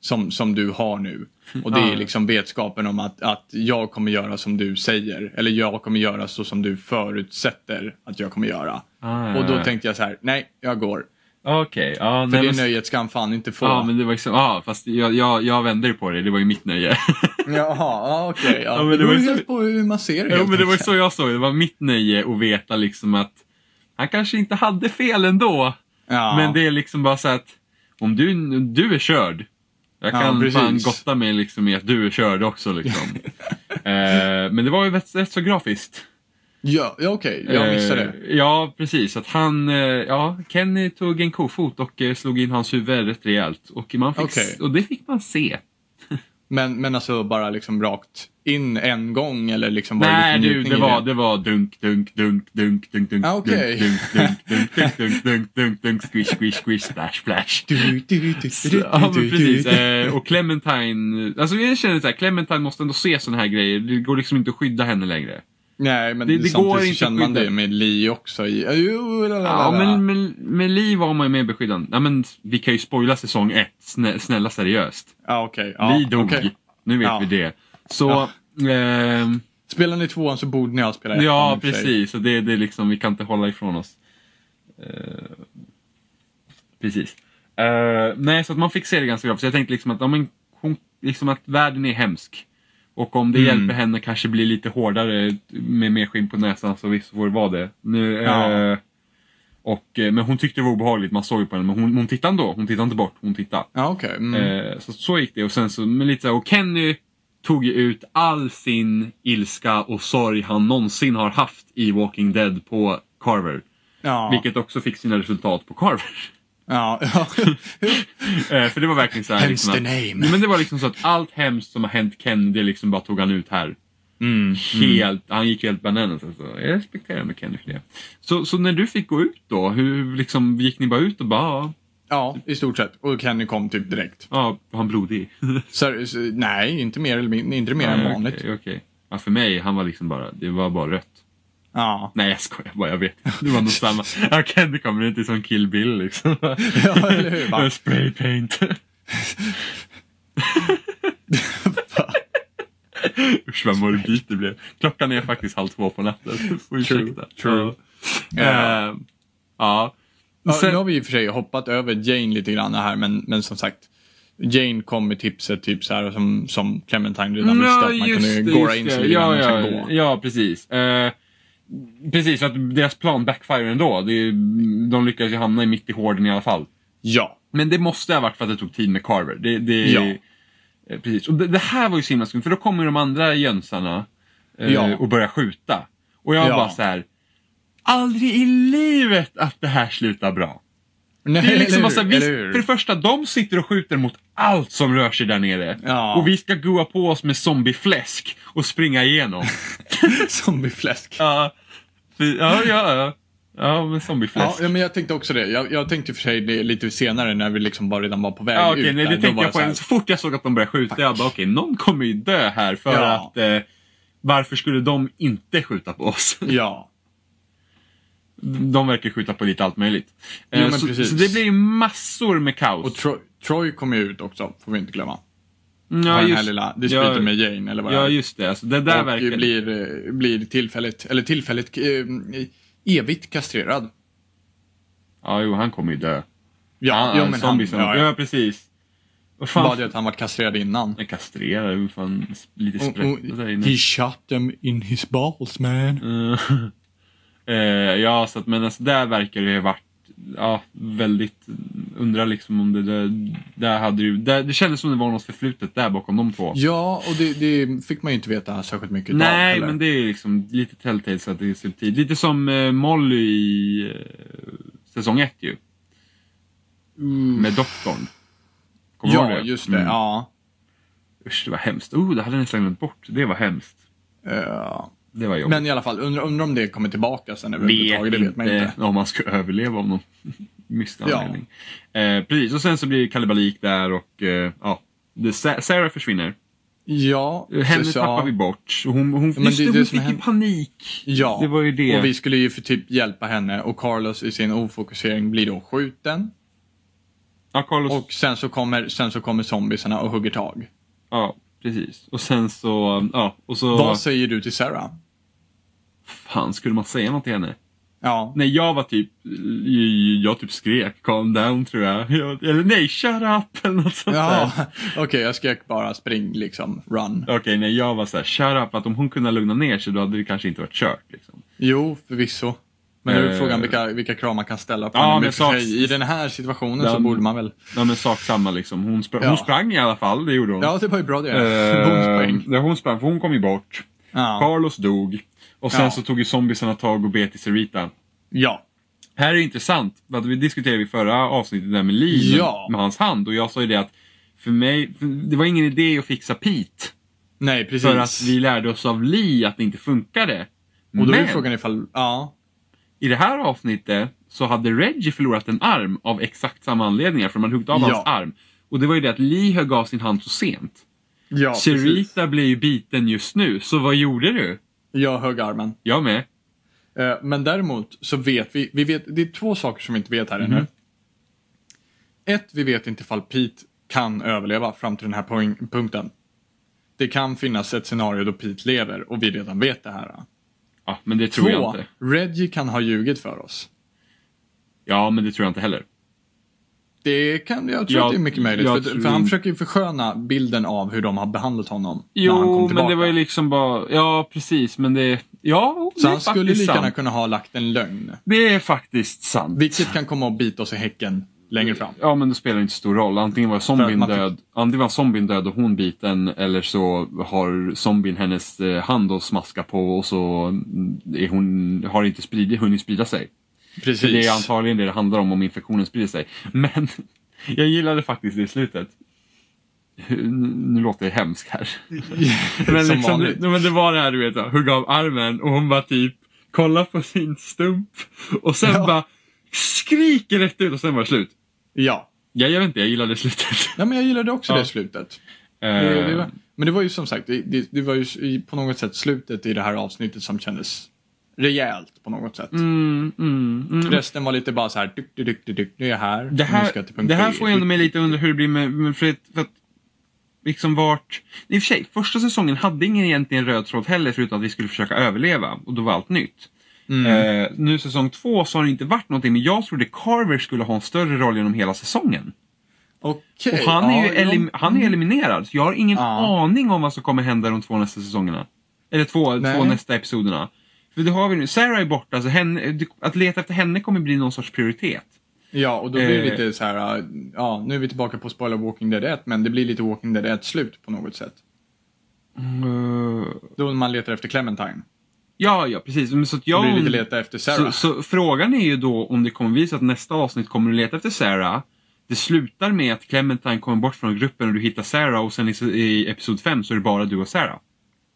A: som, som du har nu. Och det
B: Ah.
A: är liksom vetskapen om att, att jag kommer göra som du säger. Eller jag kommer göra så som du förutsätter att jag kommer göra.
B: Ah,
A: och då
B: ja, ja.
A: tänkte jag så här, nej, jag går.
B: Okej, ja.
A: För
B: nej,
A: det
B: men-
A: nöjet ska han fan inte få.
B: Ja, men det var liksom, ja, fast jag, jag, jag vände ju på det. Det var ju mitt nöje.
A: Jaha, ja, ah, okej. ja.
B: Ja,
A: men
B: men
A: det
B: det
A: beror
B: var ju
A: ju
B: så-
A: helt på hur man ser det.
B: Jo,
A: helt
B: men det var ju
A: enkelt.
B: så jag såg det. Det var mitt nöje att veta liksom att han kanske inte hade fel ändå.
A: ja.
B: Men det är liksom bara så att om du, du är körd. Jag
A: Ja,
B: kan
A: precis.
B: fan gotta mig liksom i att du är körd också liksom. eh, men det var ju rätt, rätt så grafiskt.
A: Ja, ja okej. Jag missade det.
B: Eh, ja, precis. Att han, eh, ja, Kenny tog en kofot och eh, slog in hans huvud rätt rejält. Och, man fick,
A: Okej.
B: och det fick man se.
A: Men, men alltså bara liksom rakt in en gång eller liksom var
B: Nej
A: lite
B: du,
A: njutning
B: det
A: i
B: var, det var dunk, dunk, dunk, dunk, dunk, dunk,
A: Ah, okej.
B: dunk, dunk, dunk, dunk, dunk, dunk, dunk, dunk, squish, squish, squish, splash, splash.
A: Du, du, du, du, du,
B: Ja
A: du,
B: men
A: du,
B: precis,
A: du.
B: Eh, och Clementine, alltså jag känner såhär, Clementine måste ändå se såna här grejer, det går liksom inte att skydda henne längre.
A: Nej, men
B: det- det
A: samtidigt
B: går
A: så
B: inte
A: känner man
B: att skydda.
A: det med Li också. I, jo, la, la, la,
B: Ja
A: la.
B: men med, med Li var man ju mer beskyddande. Ja men vi kan ju spoila säsong ett, snä, snälla seriöst.
A: ja, okej. ja,
B: Li dog,
A: okej.
B: nu vet
A: Ja.
B: vi det. Så, ehm,
A: Spelar ni tvåan så borde ni ha spelat ettan i
B: ja
A: och för sig.
B: precis, så det, det är liksom, vi kan inte hålla ifrån oss. Eh, precis. Eh, nej, så att man fick se det ganska bra. Så jag tänkte liksom att, ja, men, hon, liksom att världen är hemsk. Och om det
A: Mm.
B: hjälper henne kanske bli lite hårdare med mer skinn på näsan så visst får det vara det. Nu, eh,
A: Ja.
B: och, eh, men hon tyckte det var obehagligt, man såg ju på henne. Men hon, hon tittade ändå, hon tittade inte bort, hon tittade.
A: Ja, okej. Mm.
B: Eh, så, så gick det och sen så, men lite så här, och Kenny tog ju ut all sin ilska och sorg han någonsin har haft i Walking Dead på Carver.
A: ja,
B: Vilket också fick sina resultat på Carver.
A: ja, ja.
B: Eh, för det var verkligen så här,
A: Hence
B: liksom,
A: the
B: att,
A: name.
B: Nej, men det var liksom så att allt hemskt som har hänt Kenny, det liksom bara tog han ut här.
A: Mm.
B: Helt, Han gick helt bananas. Alltså. Jag respekterar med Kenny för det. Så, så när du fick gå ut då, hur liksom, gick ni bara ut och bara, ja,
A: Ja, i stort sett. Och Kenny kom typ direkt.
B: ja, var han blodig?
A: Så, så, nej, inte mer, eller mindre, inte mer än
B: Nej,
A: vanligt.
B: Okej, okej. Ja, för mig, han var liksom bara, det var bara rött.
A: Ja.
B: Nej jag skojar bara, jag vet. Det var nog samma. Ja, Kenny kommer inte som Kill Bill liksom.
A: Ja, eller hur, va?
B: Spray paint. Usch vad morbid det blev. Klockan är faktiskt halv två på natten. Får ursäkta.
A: true.
B: Ja. Eh, ja.
A: Ja,
B: Sen-
A: Nu har vi i och för sig hoppat över Jane lite grann här, men, men som sagt. Jane kom med tipset typ så här som, som Clementine redan visste att man kunde gora in sig lite grann
B: ja,
A: och
B: ja,
A: sen gå.
B: ja, precis. Eh, precis, för att deras plan backfire ändå. Det, är- de lyckas ju hamna i mitt i horden i alla fall.
A: Ja.
B: Men det måste ha varit för att det tog tid med Carver. Det, det,
A: Ja.
B: eh, precis. Och det, det här var ju så himla skumt, för då kommer de andra jönsarna eh,
A: Ja.
B: och börjar skjuta. Och jag
A: Ja.
B: bara så här. Aldrig i livet att det här slutar bra. Det är liksom bara så här, vi, för det första, de sitter och skjuter mot allt som rör sig där nere.
A: Ja.
B: Och vi ska goa på oss med zombiefläsk och springa igenom.
A: Zombiefläsk.
B: ja, fy- ja, ja, ja. Ja, med zombiefläsk.
A: Ja, ja, men jag tänkte också det. Jag, jag tänkte i och för sig det lite senare när vi liksom bara redan var på väg
B: Ja,
A: ut.
B: okej, nej,
A: där.
B: det
A: Då
B: tänkte
A: var
B: jag på.
A: så här,
B: Så, så fort jag såg att de började skjuta, jag bara okej, någon kommer ju dö här för
A: Ja.
B: att eh, varför skulle de inte skjuta på oss?
A: Ja.
B: De verkar skjuta på lite allt möjligt. Eh,
A: Jo, men
B: så,
A: precis.
B: så det blir ju massor med kaos.
A: Och Troy, Troy kom ju ut också, får vi inte glömma.
B: ja,
A: Har den här
B: just,
A: lilla dispyten
B: ja,
A: med Jane eller vad det
B: ja,
A: är.
B: just det. Alltså, det där
A: och
B: verkar...
A: blir, eh, blir tillfälligt, eller tillfälligt, eh, evigt kastrerad.
B: Ja, jo, han kommer ju dö.
A: Ja,
B: han,
A: jo,
B: han,
A: men
B: zombie,
A: han, ja, ja.
B: ja, precis. Vad
A: Bara
B: fan?
A: det att han varit kastrerad innan.
B: Jag kastrerar, hur fan, s- lite
A: Och-
B: sprätt och där
A: och-
B: inne.
A: He shot them in his balls man.
B: Eh, eh, ja, så att, men alltså, där verkar det ju ha varit ja, väldigt... Undrar liksom om det där... där hade ju, där, det kändes som det var något förflutet där bakom de två.
A: Ja, och det, det fick man ju inte veta särskilt mycket utav
B: Nej,
A: heller.
B: men det är ju liksom lite Telltale så att det är subtilt. Lite som eh, Molly i eh, säsong ett ju.
A: Mm.
B: Med doktorn. Kommer du
A: Ja,
B: ihåg
A: just det.
B: Mm.
A: Ja.
B: Usch, det var hemskt. Oh, det hade jag nästan glömt bort. Det var hemskt.
A: Eh,
B: Det var jobbigt.
A: men i alla fall, undrar undra om det kommer tillbaka sen Mm. överhuvudtaget. Det vet man inte.
B: om man ska överleva om någon mystisk
A: Ja.
B: anledning. Eh, precis, och sen så blir det kalabalik där och eh, ja. Det, Sa- Sarah försvinner.
A: Ja,
B: Eh, Henne
A: så- så-
B: tappar vi bort. Och Hon, hon,
A: men
B: just
A: det
B: det,
A: är det
B: hon
A: som
B: fick ju
A: händer.
B: panik.
A: Ja,
B: Det var ju det.
A: och vi skulle ju för typ hjälpa henne och Carlos i sin ofokusering blir då skjuten.
B: Ja, Carlos.
A: Och sen så kommer, sen så kommer zombiesarna och hugger tag.
B: Ja, precis. Och sen så, ja, och så...
A: Vad säger du till Sarah?
B: Fan, skulle man säga något till henne?
A: Ja.
B: Nej, jag var typ, jag typ skrek calm down tror jag. jag eller nej, shut up eller något sånt
A: Ja,
B: där.
A: okej jag skrek bara spring liksom, run.
B: Okej, nej jag var såhär, shut up, att om hon kunde lugna ner sig då hade det kanske inte varit kört. Liksom.
A: Jo, förvisso. Men nu är
B: Eh.
A: frågan vilka, vilka krav man kan ställa på
B: Ja,
A: honom.
B: men
A: I och för
B: sak-
A: sig, I den här situationen så
B: Den-
A: borde man väl...
B: Ja men sak samma liksom, hon, spr-
A: Ja.
B: hon sprang i alla fall, det gjorde hon.
A: Ja, det var ju bra det.
B: Eh,
A: Bonuspoäng.
B: ja, hon sprang, för hon kom ju bort.
A: Ja.
B: Carlos dog. Och sen
A: Ja.
B: så tog ju zombiesarna tag och bet i Sarita.
A: ja.
B: Här är det intressant, för att vi diskuterade i förra avsnittet det där med Lee,
A: Ja.
B: med, med hans hand. Och jag sa ju det att för mig, för det var ingen idé att fixa Pete.
A: Nej, precis.
B: För att vi lärde oss av Lee att det inte funkade.
A: Och då är
B: Men
A: ju frågan ifall... Ja.
B: i det här avsnittet så hade Reggie förlorat en arm av exakt samma anledningar. För man huggit av
A: Ja.
B: hans arm. Och det var ju det att Lee högg av sin hand så sent.
A: Ja, precis.
B: Sarita blev ju biten just nu, så vad gjorde du?
A: Jag högg armen.
B: Jag med.
A: Eh, Men däremot så vet vi, vi vet, det är två saker som vi inte vet här
B: Mhm.
A: ännu. Ett, vi vet inte ifall Pete kan överleva fram till den här poäng, punkten. Det kan finnas ett scenario då Pete lever och vi redan vet det här.
B: Ja, men det tror jag
A: Två,
B: inte.
A: Reggie kan ha ljugit för oss.
B: Ja, men det tror jag inte heller.
A: Det kan, jag tror
B: Jag-
A: att det är mycket möjligt.
B: jag
A: För,
B: tror-
A: för han försöker ju försköna bilden av hur de har behandlat honom när han
B: Jo,
A: kom
B: men
A: tillbaka.
B: det var ju liksom bara... Ja, precis, men det... Ja, det
A: så
B: är
A: han skulle
B: faktiskt
A: lika gärna
B: sant.
A: kunna ha lagt en lögn.
B: Det är faktiskt sant.
A: Vilket kan komma och bita oss i häcken längre fram.
B: Ja, men det spelar inte stor roll. Antingen var zombien
A: man fick-
B: död Antingen var zombien död och hon biten, eller så har zombien hennes eh, hand att smaska på och så är hon, har inte spridit, hunnit sprida sig. För
A: Precis.
B: det är antagligen det det handlar om, om infektionen sprider sig. Men jag gillade faktiskt det i slutet. Hur- Nu låter jag hemsk här. Men,
A: Som
B: liksom,
A: vanligt.
B: det, men det var det här du vet, hugga av armen och hon bara typ kollar på sin stump och sen
A: Ja.
B: bara skriker rätt ut och sen var det slut.
A: Ja.
B: Jag, jag vet inte, jag gillade slutet.
A: Ja, men jag gillade också
B: Ja. Eh.
A: det slutet. Det, det var, men det var ju som sagt, det- det, det var ju s- i- på något sätt slutet i det här avsnittet som kändes rejält på något sätt.
B: Mm, mm, mm.
A: Resten var lite bara så här, dyk, dyk, dyk, dyk, dyk, nu är jag här,
B: Det
A: nu ska
B: här,
A: jag typ till punkt
B: det här
A: B.
B: får ju ändå mig lite under hur det blir med, med för, att, för att liksom vart... I och för sig, första säsongen hade ingen egentligen röd tråd heller förutom att vi skulle försöka överleva och då var allt nytt.
A: Mm.
B: Eh, nu säsong två så har det inte varit någonting men jag trodde Carver skulle ha en större roll genom hela säsongen.
A: Okej.
B: Och han är
A: ja,
B: ju elim-
A: ja.
B: han är eliminerad så jag har ingen
A: Ja.
B: aning om vad som kommer hända de två nästa säsongerna. Eller två,
A: Nej.
B: två nästa episoderna. För det har vi nu. Sarah är borta så henne, att leta efter henne kommer bli någon sorts prioritet.
A: Ja, och då blir det
B: eh,
A: lite så här, äh, ja, nu är vi tillbaka på spoiler Walking Dead 1, men det blir lite Walking Dead 1-slut på något sätt. Mm,
B: Eh,
A: Då man letar efter Clementine.
B: Ja, ja precis. Men så att
A: Då
B: jag...
A: blir det lite leta efter Sarah.
B: så, så frågan är ju då om det kommer visa att nästa avsnitt kommer du leta efter Sarah. Det slutar med att Clementine kommer bort från gruppen och du hittar Sarah och sen i, i episod 5 så är det bara du och Sarah.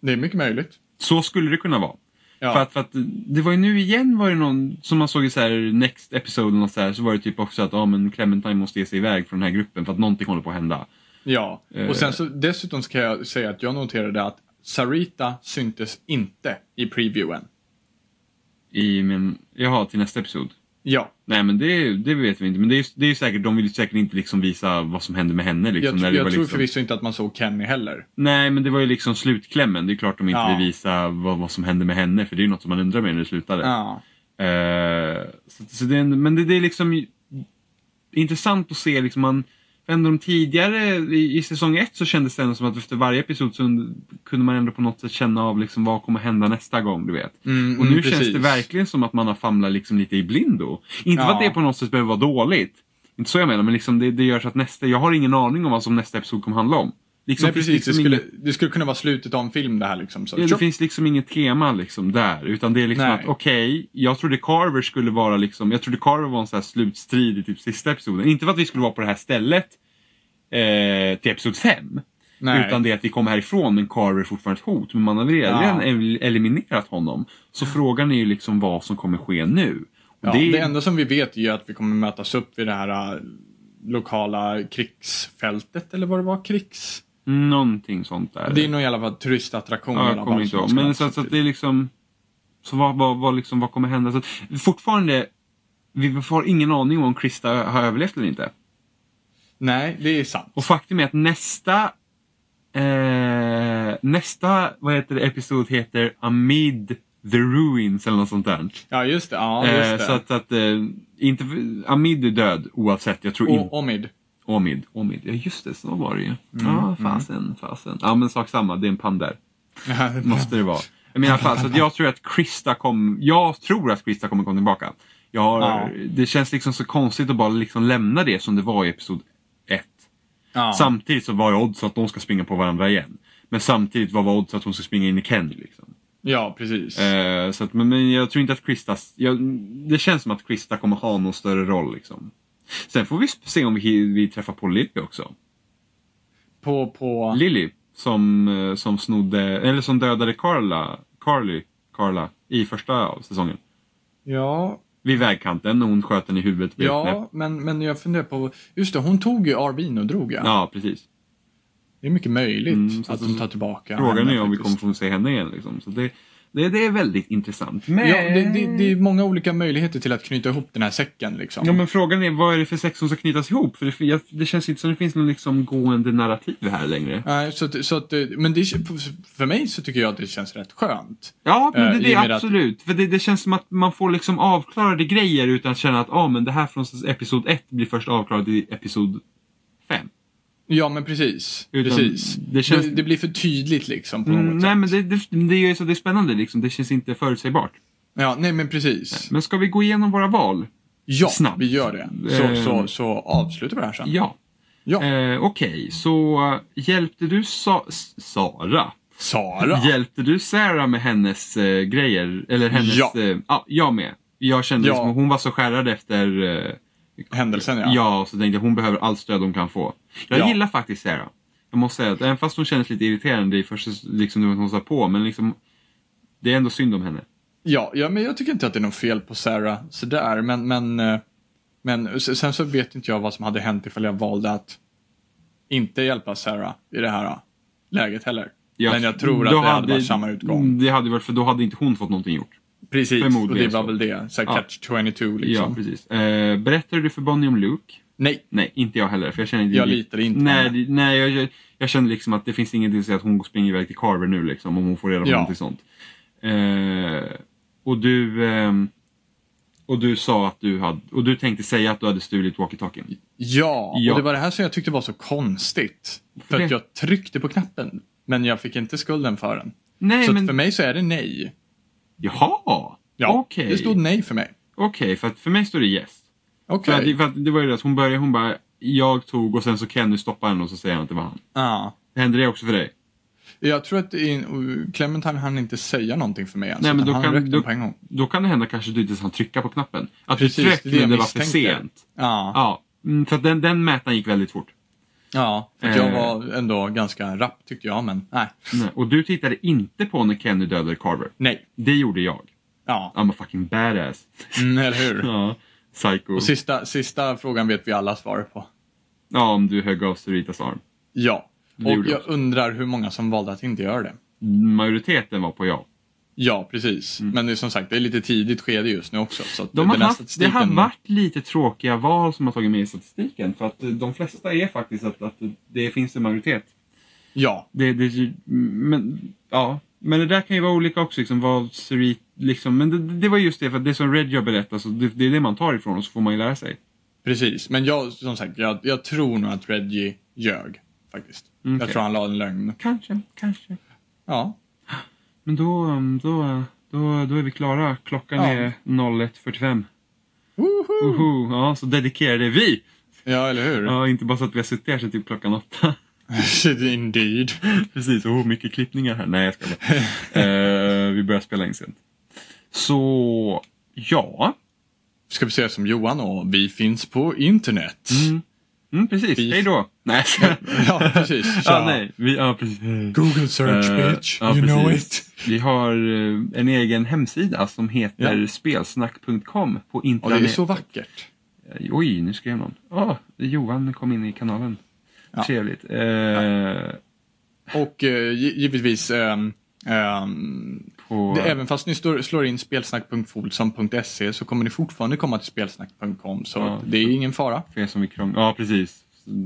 A: Det är mycket möjligt.
B: Så skulle det kunna vara.
A: Ja.
B: För, att, för att det var ju nu igen var det någon, som man såg i så här next episode och så, här, så var det typ också att ah, men Clementine måste ge sig iväg från den här gruppen för att någonting håller på att hända.
A: Ja,
B: Eh.
A: och sen så dessutom ska jag säga att jag noterade att Sarita syntes inte i previewen.
B: I min, jaha, till nästa episod.
A: Ja,
B: Nej men det, det vet vi inte. Men det är, ju- det är ju säkert, de vill ju säkert inte liksom visa vad som hände med henne. Liksom,
A: jag, tr-
B: när det
A: jag
B: var
A: tror
B: liksom...
A: förvisso inte att man såg Kenny heller.
B: Nej, men det var ju liksom slutklämmen. Det är klart de inte
A: Ja.
B: vill visa vad, vad som hände med henne, för det är ju något som man undrar med när det slutade.
A: Ja.
B: Eh, så, så det är, en- men det, det är liksom ju- intressant att se liksom man för ändå de tidigare i, i säsong ett så kändes det ändå som att efter varje episod så und- kunde man ändå på något sätt känna av liksom vad kommer hända nästa gång, du vet.
A: Mm,
B: Och nu
A: mm,
B: känns
A: precis.
B: det verkligen som att man har famlat liksom lite i blindo. Inte för att
A: Ja.
B: det på något sätt behöver vara dåligt. Inte så jag menar, men liksom det, det gör så att nästa, jag har ingen aning om vad som nästa episod kommer handla om. Liksom,
A: Nej,
B: finns
A: precis. Det
B: liksom
A: skulle,
B: inget-
A: det skulle kunna vara slutet av en film det här liksom. Så,
B: Ja, det
A: tjopp.
B: finns liksom inget tema liksom där. Utan det är liksom
A: Nej.
B: att okej, jag trodde Carver skulle vara liksom, jag trodde Carver var en sån här slutstrid i typ sista episoden. Inte för att vi skulle vara på det här stället eh, till episod 5.
A: Nej.
B: Utan det är att vi kommer härifrån men Carver är fortfarande ett hot. Men man har redan
A: Ja.
B: el- eliminerat honom. Så frågan är ju liksom vad som kommer ske nu. Och
A: ja,
B: det
A: det...
B: är-
A: enda som vi vet är ju att vi kommer mötas upp vid det här äh, lokala krigsfältet, eller vad det var, krigs...
B: Någonting sånt där.
A: Det är nog i alla fall turistattraktion. i
B: Ja,
A: alla
B: jag kommer
A: fall
B: inte
A: som typ.
B: ihåg.
A: ska
B: Men
A: mötas
B: så, att- så
A: upp
B: att det är liksom... Så vad, vad, vad, liksom, vad kommer hända? Så att, fortfarande, vi har ingen aning om Krista har överlevt eller inte.
A: Nej, det är sant.
B: Och faktum är att nästa eh, nästa vad heter det, episod heter Amid the Ruins eller något sånt där.
A: Ja, just det. Ja, just
B: Eh,
A: det.
B: så att, att eh, inte, Amid är död oavsett. Jag tror inte...
A: Och Mm, Omid.
B: Omid, Omid. Ja just det, så var det ju. Ja, fasen, fasen. Ja men sak samma, det är en pander. Måste det vara. Men i alla fall, så att jag tror att Krista kom, jag tror att Krista kommer komma tillbaka. Jag har,
A: Ja.
B: Det känns liksom så konstigt att bara liksom lämna det som det var i episod 1.
A: ja.
B: Samtidigt så var ju odds att de ska springa på varandra igen. Men samtidigt vad var odds att hon ska springa in i Kenny liksom.
A: ja, precis.
B: Eh, så att, men, men jag tror inte att Krista... Jag, det känns som att Krista kommer ha någon större roll. Liksom. Sen får vi sp- se om vi, vi träffar på Lily också.
A: På, på...
B: Lily som, eh, som snodde, eller som dödade Carla, Carly, Carla i första säsongen.
A: Ja,
B: Vid vägkanten och hon sköt den i huvudet. med ett knäpp.
A: ja men, men jag funderar på... Just det, hon tog ju Arbin och drog ja.
B: ja precis.
A: Det är mycket möjligt
B: Mm, så
A: att
B: att-
A: de tar tillbaka
B: Frågan
A: henne
B: är om vi
A: faktiskt.
B: kommer få se henne igen. Liksom. Så det, det, det är väldigt intressant. Men...
A: Ja, det, det, det är många olika möjligheter till att knyta ihop den här säcken liksom.
B: Ja men frågan är vad är det för sex som ska knytas ihop? För det, jag, det känns inte som det finns någon liksom gående narrativ här längre.
A: Nej, så att, så att, eh, men det, för mig så tycker jag att det känns rätt skönt.
B: Ja, men
A: Eh,
B: det,
A: i
B: det
A: och med att-
B: absolut. För det, det känns som att man får liksom avklarade grejer utan att känna att ah, men det här från episod 1 blir först avklarat i episod 5.
A: Ja, men precis.
B: Utan
A: precis. Det,
B: det känns-
A: det, blir för tydligt liksom på något
B: Mm,
A: sätt.
B: nej, men det, det, det gör ju så att det är spännande liksom. Det känns inte förutsägbart.
A: Ja, nej men precis.
B: Men ska vi gå igenom våra val?
A: Ja,
B: Snabbt.
A: vi gör det. Så,
B: Eh.
A: så, så avslutar vi det här sen.
B: Ja.
A: Ja.
B: Eh, Okej, så hjälpte du Sa- S- Sara?
A: Sara.
B: Hjälpte du Sarah med hennes eh, grejer? Eller hennes...
A: Ja.
B: eh, ja, jag med. Jag kände
A: Ja.
B: liksom, hon var så skärrad efter... Eh,
A: Händelsen ja.
B: ja. så tänkte jag hon behöver allt stöd hon kan få. Jag
A: Ja.
B: gillar faktiskt Sarah. Jag måste säga att även fast hon kändes lite irriterande i första, liksom nu när hon sa på, men liksom... Det är ändå synd om henne.
A: Ja, ja, men jag tycker inte att det är något fel på Sarah sådär. Men, men, eh, men s- sen så vet inte jag vad som hade hänt ifall jag valde att inte hjälpa Sarah i det här eh, läget heller. men jag tror att
B: då Mm,
A: det hade, varit samma utgång.
B: Det hade varit, för då hade inte hon fått någonting gjort.
A: Precis, och det
B: förmodligen
A: var
B: så.
A: väl det. Så här,
B: Ja.
A: catch 22 liksom.
B: Ja, precis. Eh, berättade du för Bonnie om Luke?
A: Nej,
B: Nej, inte jag heller. För jag känner inte...
A: jag litar inte på
B: Nej,
A: henne.
B: det- nej jag, jag, jag känner liksom att det finns ingenting som säger att hon springer iväg till Carver nu liksom, om hon får reda på
A: Ja.
B: någonting sånt. Eh, och du... ehm, och du sa att du hade... Och du tänkte säga att du hade stulit walkie-talkien.
A: Ja,
B: Ja.
A: och det var det här som jag tyckte var så konstigt. För att
B: Det-
A: jag tryckte på knappen, men jag fick inte skulden för den.
B: Nej,
A: så att
B: men...
A: för mig så är det nej.
B: Jaha!
A: Ja,
B: Okej,
A: det stod nej för mig.
B: Okej, för, att för mig står det yes. För,
A: Okej.
B: att, för att det var ju det att hon började, hon bara... Jag tog och sen så Kenny stoppade henne och så säger han att det var han.
A: Ja.
B: Hände det också för dig?
A: Jag tror att in, Clementine hann inte säga någonting för mig ens.
B: Nej, men
A: utan
B: då
A: han
B: kan-
A: räckte
B: då-
A: på en gång.
B: Då kan det hända kanske att du inte ens hann trycka på knappen. Att
A: Precis,
B: du tryckte
A: det är det
B: men det
A: jag
B: var för
A: misstänkte.
B: sent.
A: Ja,
B: Ja, mm, för att den, den mätaren gick väldigt fort.
A: ja. För att jag
B: Eh.
A: var ändå ganska rapp tyckte jag, men nej.
B: Nej, Och du tittade inte på när Kenny dödade Carver.
A: Nej.
B: Det gjorde jag.
A: Ja,
B: I'm a fucking badass.
A: mm, eller hur?
B: Ja, psycho.
A: Och sista, sista frågan vet vi alla svaret på.
B: Ja, om du högg av Soritas arm.
A: Ja.
B: Det
A: Och
B: gjorde jag
A: jag undrar hur många som valde att inte göra det.
B: Majoriteten var på ja.
A: Ja, precis. Men det är som sagt, det är lite tidigt skede just nu också. Så att
B: Mm. De har
A: den här
B: haft, det har
A: statistiken-
B: varit lite tråkiga val som har tagit med i statistiken. För att eh, de flesta är faktiskt att, att det finns en majoritet.
A: Ja,
B: Det, det, men, ja. men det där kan ju vara olika också. Liksom, vad Sorit, liksom. Men det, det var just det, för att det som Reggio berättar, så det, det är det man tar ifrån och så får man ju lära sig.
A: precis. Men jag, som sagt, jag, jag tror nog att Reggie ljög. Faktiskt. Jag
B: Okej.
A: tror han la en lögn.
B: Kanske, kanske.
A: Ja,
B: Men då, um, då, då, då är vi klara. Klockan
A: Ja.
B: är 01.45. Woho! Ja, så dedikerade är vi!
A: ja eller hur?
B: Ja, inte bara så att vi har suttit här sedan typ klockan åtta.
A: Indeed.
B: Precis, oh, mycket klippningar här. Nej, jag ska bara. Eh, Vi börjar spela in sent. Så, ja.
A: Ska vi säga som Johan och vi finns på internet.
B: Mm. Mm, precis,
A: Vi-
B: hej då! Nej,
A: Ja, precis.
B: Ja, nej. Vi, ja, precis.
A: Google search
B: Eh,
A: bitch,
B: ja,
A: you know
B: precis.
A: it.
B: Vi har eh, en egen hemsida som heter
A: Ja.
B: spelsnack.com på
A: Och det är
B: internet. Eh,
A: så vackert.
B: Oj, nu skrev någon. Ah, Johan kom in i kanalen.
A: Ja.
B: Trevligt. Eh,
A: Och eh, gi- givetvis ehm, ehm,
B: på,
A: Det, även fast ni står, slår in spelsnack.folsom.se så kommer ni fortfarande komma till spelsnack.com så
B: Ja.
A: det är ingen fara.
B: E För er som vill krångla. Ja, precis.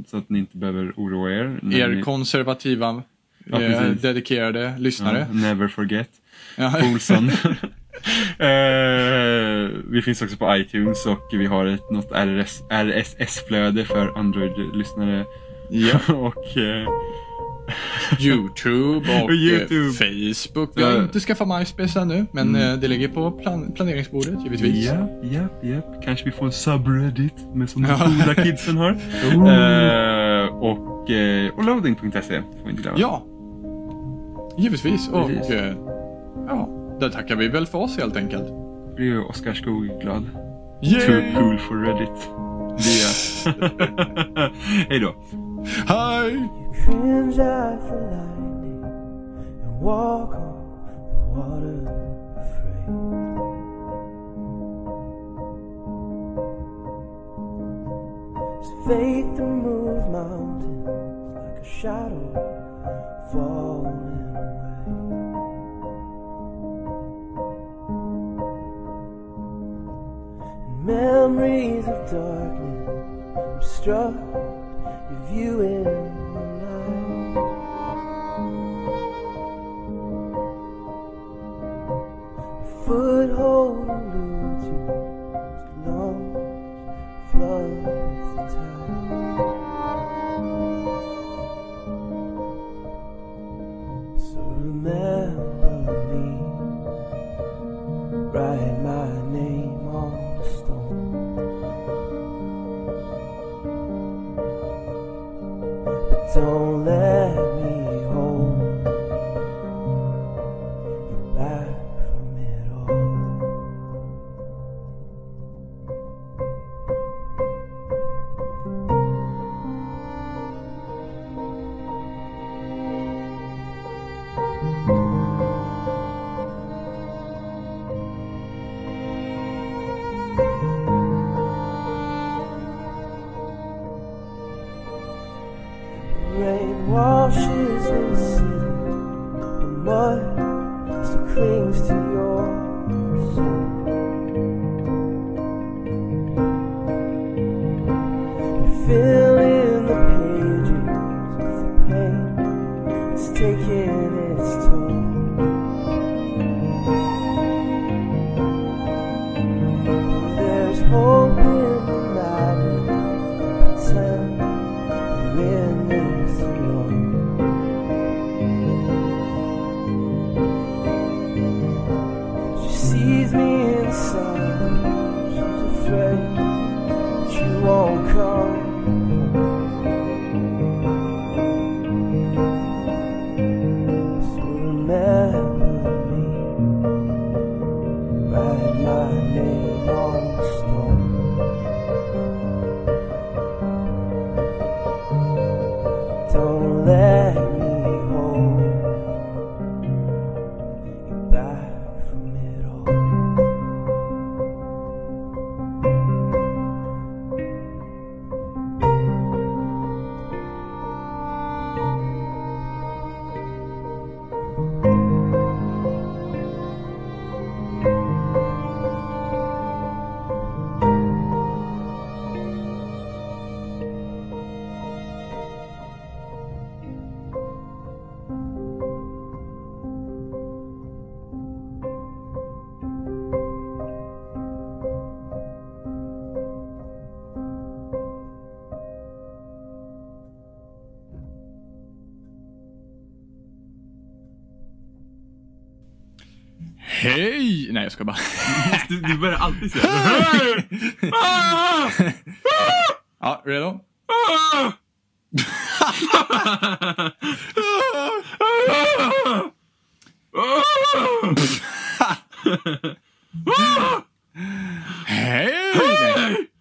B: så att ni inte behöver oroa er. när
A: Er
B: ni-
A: konservativa,
B: Ja,
A: eh,
B: precis.
A: dedikerade lyssnare.
B: ja, Never forget.
A: Ja.
B: Olsson. Eh, vi finns också på iTunes och vi har ett, något RS, RSS-flöde för Android-lyssnare.
A: Ja.
B: och eh,
A: Youtube och
B: Och YouTube.
A: eh, Facebook. Vi har
B: Ja.
A: inte skaffat MySpace ännu, men eh, det ligger på plan- planeringsbordet givetvis.
B: Japp, japp, japp. Kanske vi får en subreddit med som de
A: Ja. Oh.
B: coola kidsen har.
A: Ooh.
B: Eh, och, eh, och loading.se får vi inte glömma.
A: Ja, givetvis. Och
B: Precis.
A: eh, ja, där tackar vi väl för oss helt enkelt.
B: Det blir ju Oskar Skog glad. Too
A: Yay!
B: cool for Reddit. Det är... Hej då.
A: Hej!
C: Dreams are for lightning and walk on the water afraid. It's faith that moves mountains like a shadow falling away. And memories of darkness obstruct your view in the night. A foothold eludes you as long floods the tide. So remember me, write my name on the stone. Don't let me hold you back from it all. Rain washes the city, the mud still clings to your soul. You fill in the pages with the pain that's taking its toll. There's hope in the madness. Pretend you're in this alone. She sees me inside. She's afraid that you won't come. home. So remember me. Write my name on the stone. Don't let me hold you back from it all.
A: Hej! Nej, jag ska bara...
B: Du, du börjar alltid säga Hej! Ah!
A: ja, redo?
B: Ah! Ah! Ah!